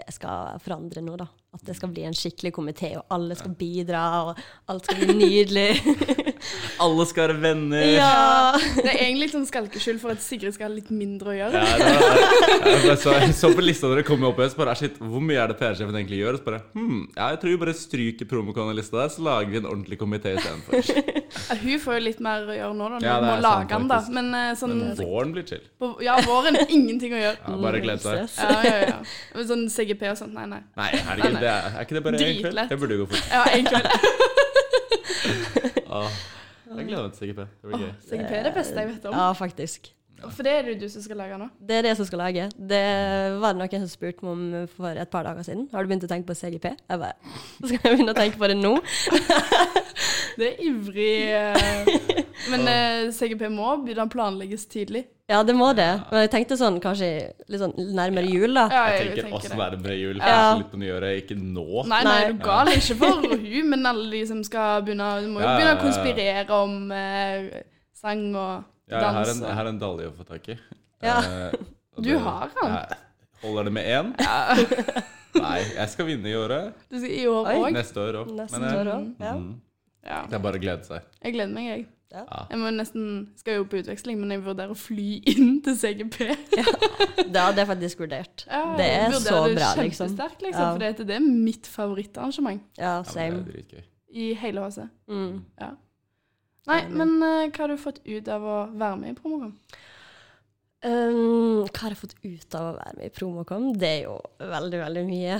Speaker 4: det skal forandre nå, da. At det skal bli en skikkelig komité, og alle skal bidra, og alt skal bli nydelig.
Speaker 3: Alle skal være venner!
Speaker 4: ja.
Speaker 2: Det er egentlig litt sånn skalkeskyld for at Sigrid skal ha litt mindre å gjøre.
Speaker 3: Ja, det var, jeg bare så, jeg så på lista da det kom opp, og jeg så bare, shit, hvor mye er det PR-sjefen egentlig gjør? Og så bare, hmm, ja, jeg tror vi bare stryker promokon-lista der, så lager vi en ordentlig komité istedenfor.
Speaker 2: Ja, hun får jo litt mer å gjøre nå, da, når
Speaker 3: Ja,
Speaker 2: hun
Speaker 3: det
Speaker 2: må
Speaker 3: er sant,
Speaker 2: lage den, da.
Speaker 3: faktisk.
Speaker 2: Men eh, sånn
Speaker 3: Men våren blir chill.
Speaker 2: på, Ja, våren er ingenting å gjøre.
Speaker 3: Ja, bare gled deg.
Speaker 4: Stress.
Speaker 2: Ja, ja, ja. Men Sånn CGP og sånt, nei, nei.
Speaker 3: Nei, herregud, det er, er ikke det bare én kveld?
Speaker 2: Dritlett.
Speaker 3: Det burde jo gå fort.
Speaker 2: Ja, en kveld.
Speaker 3: Ah, jeg gleder meg til CGP. Det blir gøy.
Speaker 2: CGP er det beste jeg vet om.
Speaker 4: Ja, faktisk.
Speaker 2: For det er det jo du som skal lage nå.
Speaker 4: Det er det som skal lage. Det var det noen som spurte meg om for et par dager siden. Har du begynt å tenke på CGP? Jeg bare Skal jeg begynne å tenke på det nå?
Speaker 2: Det er ivrig. eh, Men eh, CGP må begynne å planlegges tidlig.
Speaker 4: Ja, det må det. Men jeg tenkte sånn kanskje litt sånn nærmere jul, da.
Speaker 2: Ja,
Speaker 3: Jeg tenker oss nærmere jul, kanskje
Speaker 4: Ja.
Speaker 3: litt på nyåret, ikke nå.
Speaker 2: Nei, nei,
Speaker 4: Nei.
Speaker 2: er du gal? Ikke for hun, men alle de som skal begynne Du må jo
Speaker 3: Ja, ja,
Speaker 2: begynne
Speaker 3: ja,
Speaker 2: å
Speaker 3: ja.
Speaker 2: konspirere om eh, sang og
Speaker 3: Ja, jeg har
Speaker 2: dans.
Speaker 3: en, jeg har en dalje å få tak i.
Speaker 4: Ja.
Speaker 3: Eh, og
Speaker 2: Du
Speaker 3: det-
Speaker 2: har han.
Speaker 3: Jeg Holder det med én? Nei, jeg skal vinne i året.
Speaker 2: Du skal i år
Speaker 4: Oi.
Speaker 2: òg?
Speaker 3: Neste år òg.
Speaker 4: Nesten
Speaker 3: eh,
Speaker 4: år òg. Ja.
Speaker 3: mm.
Speaker 2: Ja.
Speaker 3: Det er bare å glede seg.
Speaker 2: Jeg gleder meg, jeg.
Speaker 4: Ja.
Speaker 2: Jeg må nesten, skal jo på utveksling, men jeg vurderer å fly inn til CGP.
Speaker 4: Det hadde jeg faktisk vurdert.
Speaker 2: Ja,
Speaker 4: Det er
Speaker 2: jeg vurderer
Speaker 4: så
Speaker 2: det
Speaker 4: bra, liksom.
Speaker 2: Kjempesterkt, liksom.
Speaker 4: Ja.
Speaker 2: For det, det er mitt favorittarrangement
Speaker 4: Ja,
Speaker 3: Ja, men
Speaker 4: same.
Speaker 3: det er dritgøy.
Speaker 2: i hele HC.
Speaker 4: Altså, Mm.
Speaker 2: Ja. Nei, men eh, hva har du fått ut av å være med i Promocom?
Speaker 4: Um, hva har jeg fått ut av å være med i Promocom? Det er jo veldig, veldig mye.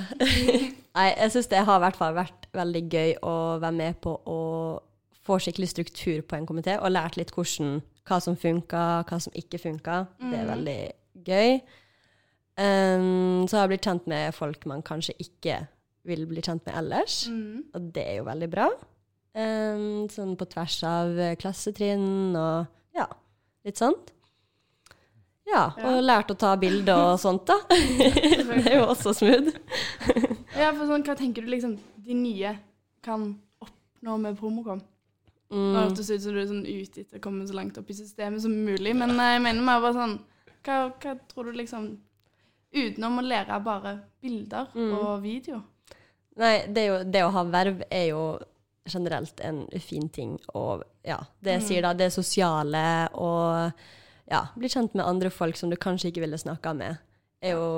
Speaker 4: Nei, jeg syns det har i hvert fall vært veldig gøy å være med på å få skikkelig struktur på en komité, og lært litt hvordan, hva som funka, hva som ikke funka. Det er veldig gøy. Um, så har jeg blitt kjent med folk man kanskje ikke vil bli kjent med ellers, og det er jo veldig bra. Um, sånn på tvers av eh, klassetrinn og ja, litt sånt. Ja, og lært å ta bilder og sånt, da. det er jo også smooth.
Speaker 2: Ja, for sånn, hva tenker du liksom de nye kan oppnå med Promocom? Nå
Speaker 4: Mm.
Speaker 2: hørtes det ut som du er sånn ute etter å komme så langt opp i systemet som mulig, men eh, jeg mener mer bare sånn hva, hva tror du liksom Utenom å lære bare bilder
Speaker 4: Mm.
Speaker 2: og video.
Speaker 4: Nei, det, er jo, det å ha verv er jo generelt en fin ting. Og ja, det jeg sier da, det sosiale og ja, bli kjent med andre folk som du kanskje ikke ville snakka med, er jo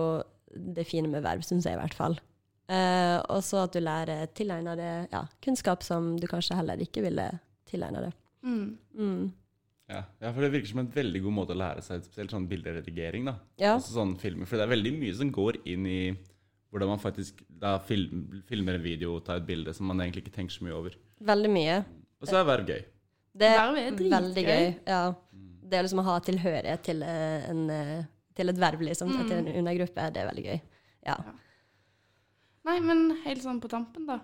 Speaker 4: det fine med verv, syns jeg i hvert fall. Eh, og så at du lærer tilegne deg ja, kunnskap som du kanskje heller ikke ville tilegne deg.
Speaker 2: Mm.
Speaker 4: Mm.
Speaker 3: Ja. ja, for det virker som en veldig god måte å lære seg spesielt sånn bilderedigering, da.
Speaker 4: Ja.
Speaker 3: Også sånn filmer, for det er veldig mye som går inn i hvordan man faktisk da film, filmer en video og tar et bilde som man egentlig ikke tenker så mye over.
Speaker 4: Veldig mye.
Speaker 3: Og så er verv gøy.
Speaker 4: Det
Speaker 2: Verv er dritgøy.
Speaker 4: Eh, veldig gøy. Ja. Det å liksom ha tilhørighet til, eh, en, eh, til et verv, liksom, til en undergruppe, det er veldig gøy. Ja.
Speaker 2: Nei, men helt sånn på tampen, da.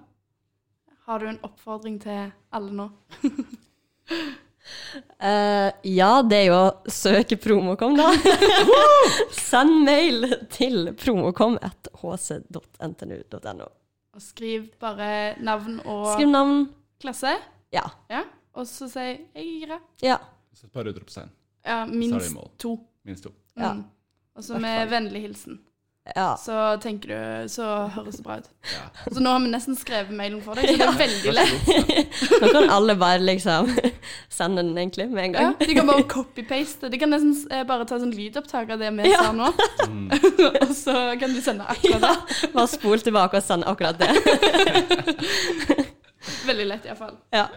Speaker 2: Har du en oppfordring til alle nå?
Speaker 4: Eh, ja, det er jo å søke Promocom, da. Send mail til promocom.hc.ntnu.no.
Speaker 2: Og skriv bare navn og
Speaker 4: Skriv navn.
Speaker 2: klasse.
Speaker 4: Ja.
Speaker 2: Ja. Og så si 'jeg er gira'.
Speaker 4: Ja.
Speaker 3: Så et par utropstegn.
Speaker 2: Ja,
Speaker 3: i
Speaker 2: minst
Speaker 3: mål.
Speaker 2: to.
Speaker 3: Minst to.
Speaker 2: Mm.
Speaker 4: Ja.
Speaker 2: Og så med vennlig hilsen.
Speaker 4: ja.
Speaker 2: Så tenker du, så høres det bra ut.
Speaker 3: Ja.
Speaker 2: Så nå har vi nesten skrevet mailen for deg, så det er veldig lett.
Speaker 4: Nå kan alle bare liksom sende den egentlig med en
Speaker 2: Ja,
Speaker 4: gang.
Speaker 2: de kan bare copy-paste. De kan nesten eh, bare ta sånn lydopptak av det vi
Speaker 4: Ja.
Speaker 2: sa nå, og så kan de sende akkurat det.
Speaker 4: Ja, bare spol tilbake og send akkurat det.
Speaker 2: Veldig lett, iallfall.
Speaker 4: Ja.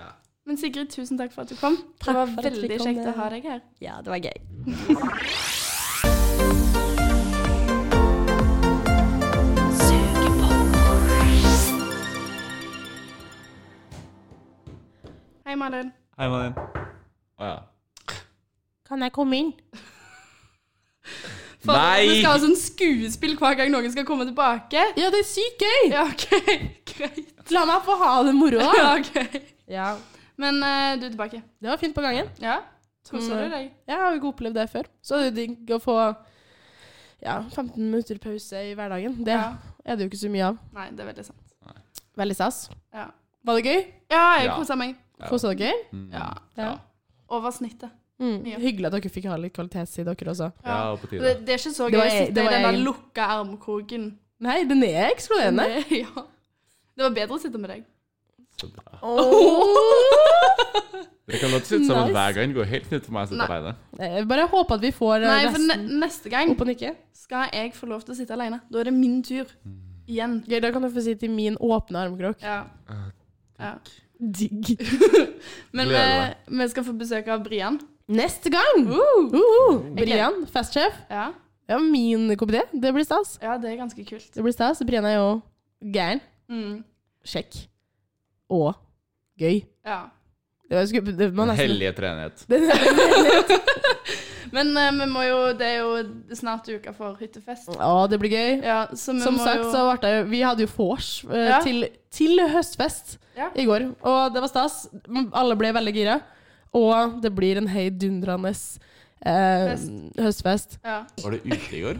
Speaker 2: Men Sigrid, tusen takk for at du kom.
Speaker 4: Takk
Speaker 2: det var
Speaker 4: for at vi
Speaker 2: veldig
Speaker 4: kom,
Speaker 2: kjekt
Speaker 4: eh.
Speaker 2: å ha deg her.
Speaker 4: Ja, det var gøy.
Speaker 2: Hei, Malin.
Speaker 3: Hei, Malin. Å ja.
Speaker 1: Kan jeg komme inn?
Speaker 2: For
Speaker 3: Nei!
Speaker 2: Vi skal ha sånn skuespill hver gang noen skal komme tilbake.
Speaker 1: Ja, det er sykt gøy!
Speaker 2: Ja, OK. Greit.
Speaker 1: La meg få ha det moro, da.
Speaker 2: Ja, ok.
Speaker 1: Ja.
Speaker 2: Men eh, du er tilbake.
Speaker 1: Det var fint på gangen.
Speaker 2: Ja? Koser
Speaker 1: Mm.
Speaker 2: du deg?
Speaker 1: Jeg har jo ikke opplevd det før. Så det er digg å få ja, 15 minutter pause i hverdagen. Det
Speaker 2: Ja.
Speaker 1: er det jo ikke så mye av.
Speaker 2: Nei, det er veldig sant.
Speaker 1: Veldig stas.
Speaker 2: Ja,
Speaker 1: Var det gøy?
Speaker 2: ja jeg
Speaker 3: Ja.
Speaker 2: koser meg.
Speaker 3: Ja.
Speaker 1: Kosa dere?
Speaker 3: Mm.
Speaker 2: Ja.
Speaker 1: Ja.
Speaker 2: Over snittet.
Speaker 1: Mm.
Speaker 2: Ja.
Speaker 1: Hyggelig at dere fikk ha litt kvalitetstid, dere også.
Speaker 3: Ja, og på
Speaker 2: Det,
Speaker 3: tide.
Speaker 2: det er ikke så
Speaker 1: Det
Speaker 2: gøy
Speaker 1: var
Speaker 2: å
Speaker 1: jeg- det
Speaker 2: sitte i
Speaker 1: var e-
Speaker 2: den der
Speaker 1: jeg-
Speaker 2: lukka armkroken.
Speaker 1: Nei, den er eksploderende.
Speaker 2: Det- Ja. Det var bedre å sitte med deg.
Speaker 3: Så
Speaker 1: Mm.
Speaker 3: bra.
Speaker 1: Åh!
Speaker 3: Dere kan godt sitte sammen
Speaker 1: Nice.
Speaker 3: hver gang. Det går helt fint for meg å sitte
Speaker 2: Nei.
Speaker 3: alene.
Speaker 1: Jeg bare håper at vi får eh,
Speaker 2: Nei, for
Speaker 1: resten
Speaker 2: ne neste gang
Speaker 1: opp og nikke.
Speaker 2: skal jeg få lov til å sitte alene. Da er det min tur.
Speaker 3: Mm.
Speaker 2: Igjen.
Speaker 1: Gøy, da kan du få si til min åpne armkrok.
Speaker 2: Ja. ja.
Speaker 1: Digg.
Speaker 2: Men eh,
Speaker 3: Gleder
Speaker 2: vi, vi skal få besøk av Brian.
Speaker 1: Neste gang!
Speaker 2: Uh.
Speaker 1: Uhu. Brian, festsjef.
Speaker 2: Ja.
Speaker 1: Det var min komité. Det blir stas.
Speaker 2: ja, det er ganske kult.
Speaker 1: Det blir stas. Brian er jo gæren.
Speaker 2: Mm.
Speaker 1: Sjekk. Og gøy.
Speaker 2: Ja.
Speaker 1: Det var skup- det var
Speaker 3: Den
Speaker 1: nesten
Speaker 3: hellige treenighet.
Speaker 2: Men eh, vi må jo, det er jo snart uka for hyttefest.
Speaker 1: Å, det blir gøy.
Speaker 2: Ja, så vi
Speaker 1: Som
Speaker 2: må
Speaker 1: sagt
Speaker 2: jo,
Speaker 1: så ble det jo Vi hadde jo vors eh,
Speaker 2: Ja.
Speaker 1: til, til høstfest
Speaker 2: Ja.
Speaker 1: i går, og det var stas. Alle ble veldig gira. Og det blir en heidundrende eh,
Speaker 2: Fest.
Speaker 1: høstfest.
Speaker 2: ja.
Speaker 3: Var du ute i går?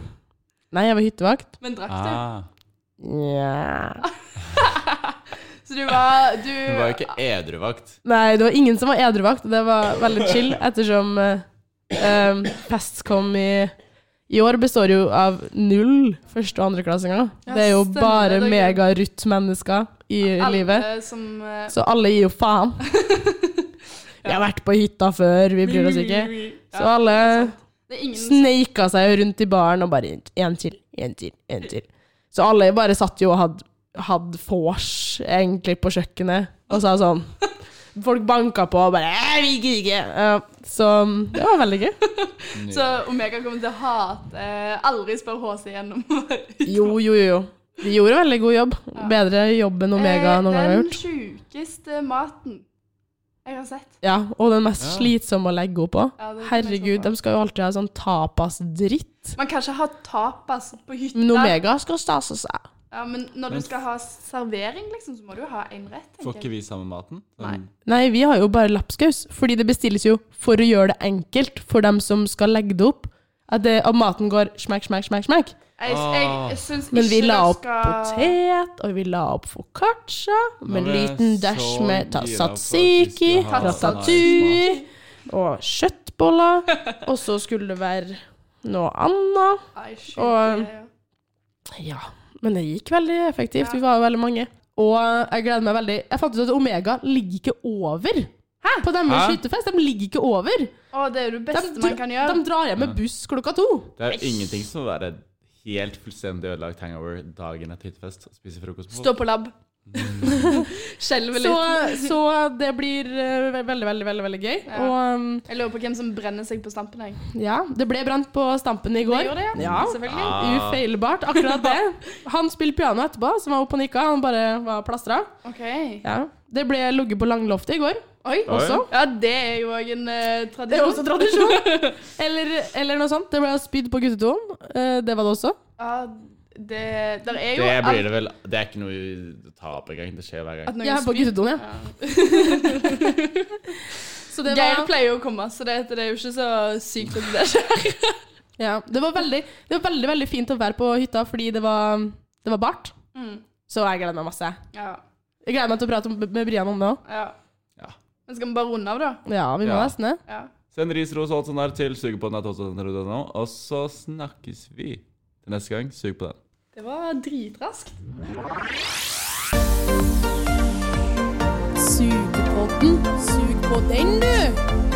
Speaker 1: Nei, jeg var hyttevakt.
Speaker 2: Men drakk du?
Speaker 3: Ah,
Speaker 2: Så du var Du
Speaker 3: hun var jo ikke edruvakt.
Speaker 1: Nei, det var ingen som var edruvakt. Det var veldig chill, ettersom eh, em, fest kom i I år består jo av null første- og andreklassinger.
Speaker 2: Ja,
Speaker 1: det er jo
Speaker 2: stemmer
Speaker 1: bare
Speaker 2: det, det er gøy.
Speaker 1: megarutt mennesker i
Speaker 2: alle
Speaker 1: livet.
Speaker 2: som eh,
Speaker 1: Så alle gir jo faen. Vi har vært på hytta før, vi bryr oss ikke.
Speaker 2: Ja,
Speaker 1: Så alle
Speaker 2: det er sant. Det er ingen
Speaker 1: Sneika seg jo rundt i baren og bare én til, én til, én til. Så alle bare satt jo og hadde had vors, egentlig, på kjøkkenet og sa sånn Folk banka på og bare «Eh, Vi gidder ikke! Ja, Så det var veldig gøy.
Speaker 2: Så Omega kommer til å hate eh, Aldri spør HC igjen om
Speaker 1: Jo, jo, jo. jo. De gjorde en veldig god jobb. Bedre jobb enn Omega noen gang har
Speaker 2: Eh, Den
Speaker 1: gjort.
Speaker 2: sjukeste maten jeg har sett.
Speaker 1: Ja, og den mest
Speaker 3: Ja.
Speaker 1: slitsomme å legge henne på.
Speaker 2: Ja, det kan jeg
Speaker 1: Herregud,
Speaker 2: skjønne.
Speaker 1: de skal jo alltid ha sånn tapasdritt.
Speaker 2: Man kan ikke ha tapas på hytta.
Speaker 1: Men Omega skal stase seg.
Speaker 2: Ja, men når
Speaker 3: Men-
Speaker 2: du skal ha servering, liksom, så må du jo ha én rett.
Speaker 3: Får
Speaker 2: tenker
Speaker 3: ikke
Speaker 2: jeg.
Speaker 3: vi sammen maten? Sånn-
Speaker 2: Nei.
Speaker 1: Nei, vi har jo bare lapskaus, fordi det bestilles jo for å gjøre det enkelt for dem som skal legge det opp. At, det, at maten går smekk, smekk, smekk, smekk.
Speaker 2: Jeg, jeg, jeg syns ikke
Speaker 1: Men vi la
Speaker 2: dere
Speaker 1: opp potet, og vi la opp foccaccia, med en
Speaker 3: ble jeg
Speaker 1: liten
Speaker 3: så
Speaker 1: dash med ta-
Speaker 3: gira på at vi
Speaker 1: satsiki,
Speaker 3: skulle ha
Speaker 1: ratatouille og kjøttboller. Og så skulle det være noe annet.
Speaker 2: Nei, sjukt,
Speaker 1: Og-
Speaker 2: det er jo-
Speaker 1: Ja, men det gikk veldig effektivt. Vi var jo veldig mange. Og jeg gleder meg veldig. Jeg fant ut at Omega ligger ikke over. Hæ? På deres
Speaker 3: Hæ?
Speaker 1: hyttefest. De ligger ikke over.
Speaker 2: Å, det er jo det
Speaker 1: De,
Speaker 2: beste
Speaker 1: dra-
Speaker 2: man kan gjøre.
Speaker 1: de drar hjem med buss klokka to.
Speaker 3: Det er jo ingenting som vil være helt fullstendig ødelagt hangover dagen etter hyttefest og spiser frokost på
Speaker 2: Stå på lab. Skjelver
Speaker 1: Så,
Speaker 2: litt.
Speaker 1: så det blir eh, ve- veldig, veldig, veldig veldig gøy.
Speaker 2: Ja.
Speaker 1: Og um,
Speaker 2: Jeg lurer på hvem som brenner seg på stampen. Jeg.
Speaker 1: ja, det ble brent på stampen i
Speaker 2: Det
Speaker 1: går.
Speaker 2: gjorde det, ja.
Speaker 1: Ja.
Speaker 2: Selvfølgelig.
Speaker 3: Ah.
Speaker 1: Ufeilbart, akkurat det. Han spilte piano etterpå, som var oppe og nikka. Han bare var plastra.
Speaker 2: Ok.
Speaker 1: Ja. Det ble ligget på langloftet i går
Speaker 2: Oi.
Speaker 1: også.
Speaker 2: Ja, det er jo òg en eh, tradisjon.
Speaker 1: Det er også tradisjon. Eller, eller noe sånt. Det ble spydd på guttetonen. Eh, Det var det også.
Speaker 2: Ja, det der er jo
Speaker 3: Det blir
Speaker 2: alt-
Speaker 3: det vel Det er ikke noe å ta opp engang. Det skjer hver gang.
Speaker 2: at noen
Speaker 1: Ja, på
Speaker 2: spyr.
Speaker 1: guttetonen, ja.
Speaker 2: Ja.
Speaker 1: Så det
Speaker 2: Geir
Speaker 1: var,
Speaker 2: pleier jo å komme, så det, det er jo ikke så sykt at det skjer.
Speaker 1: ja, det var, veldig, det var veldig, veldig fint å være på hytta fordi det var, det var bart. Så jeg gleder meg masse.
Speaker 2: Ja,
Speaker 1: Jeg gleder meg til å prate om- med Brian om det òg.
Speaker 2: ja.
Speaker 3: Ja.
Speaker 2: Men skal vi bare runde av, da?
Speaker 1: Ja, vi må
Speaker 3: Ja.
Speaker 1: nesten det.
Speaker 2: Ja.
Speaker 3: Send ris, ros og alt sånt der til sugepodden.no, og så snakkes vi til neste gang. Sug på den.
Speaker 2: Det var dritraskt.
Speaker 1: Sugepodden. Sug på den, du!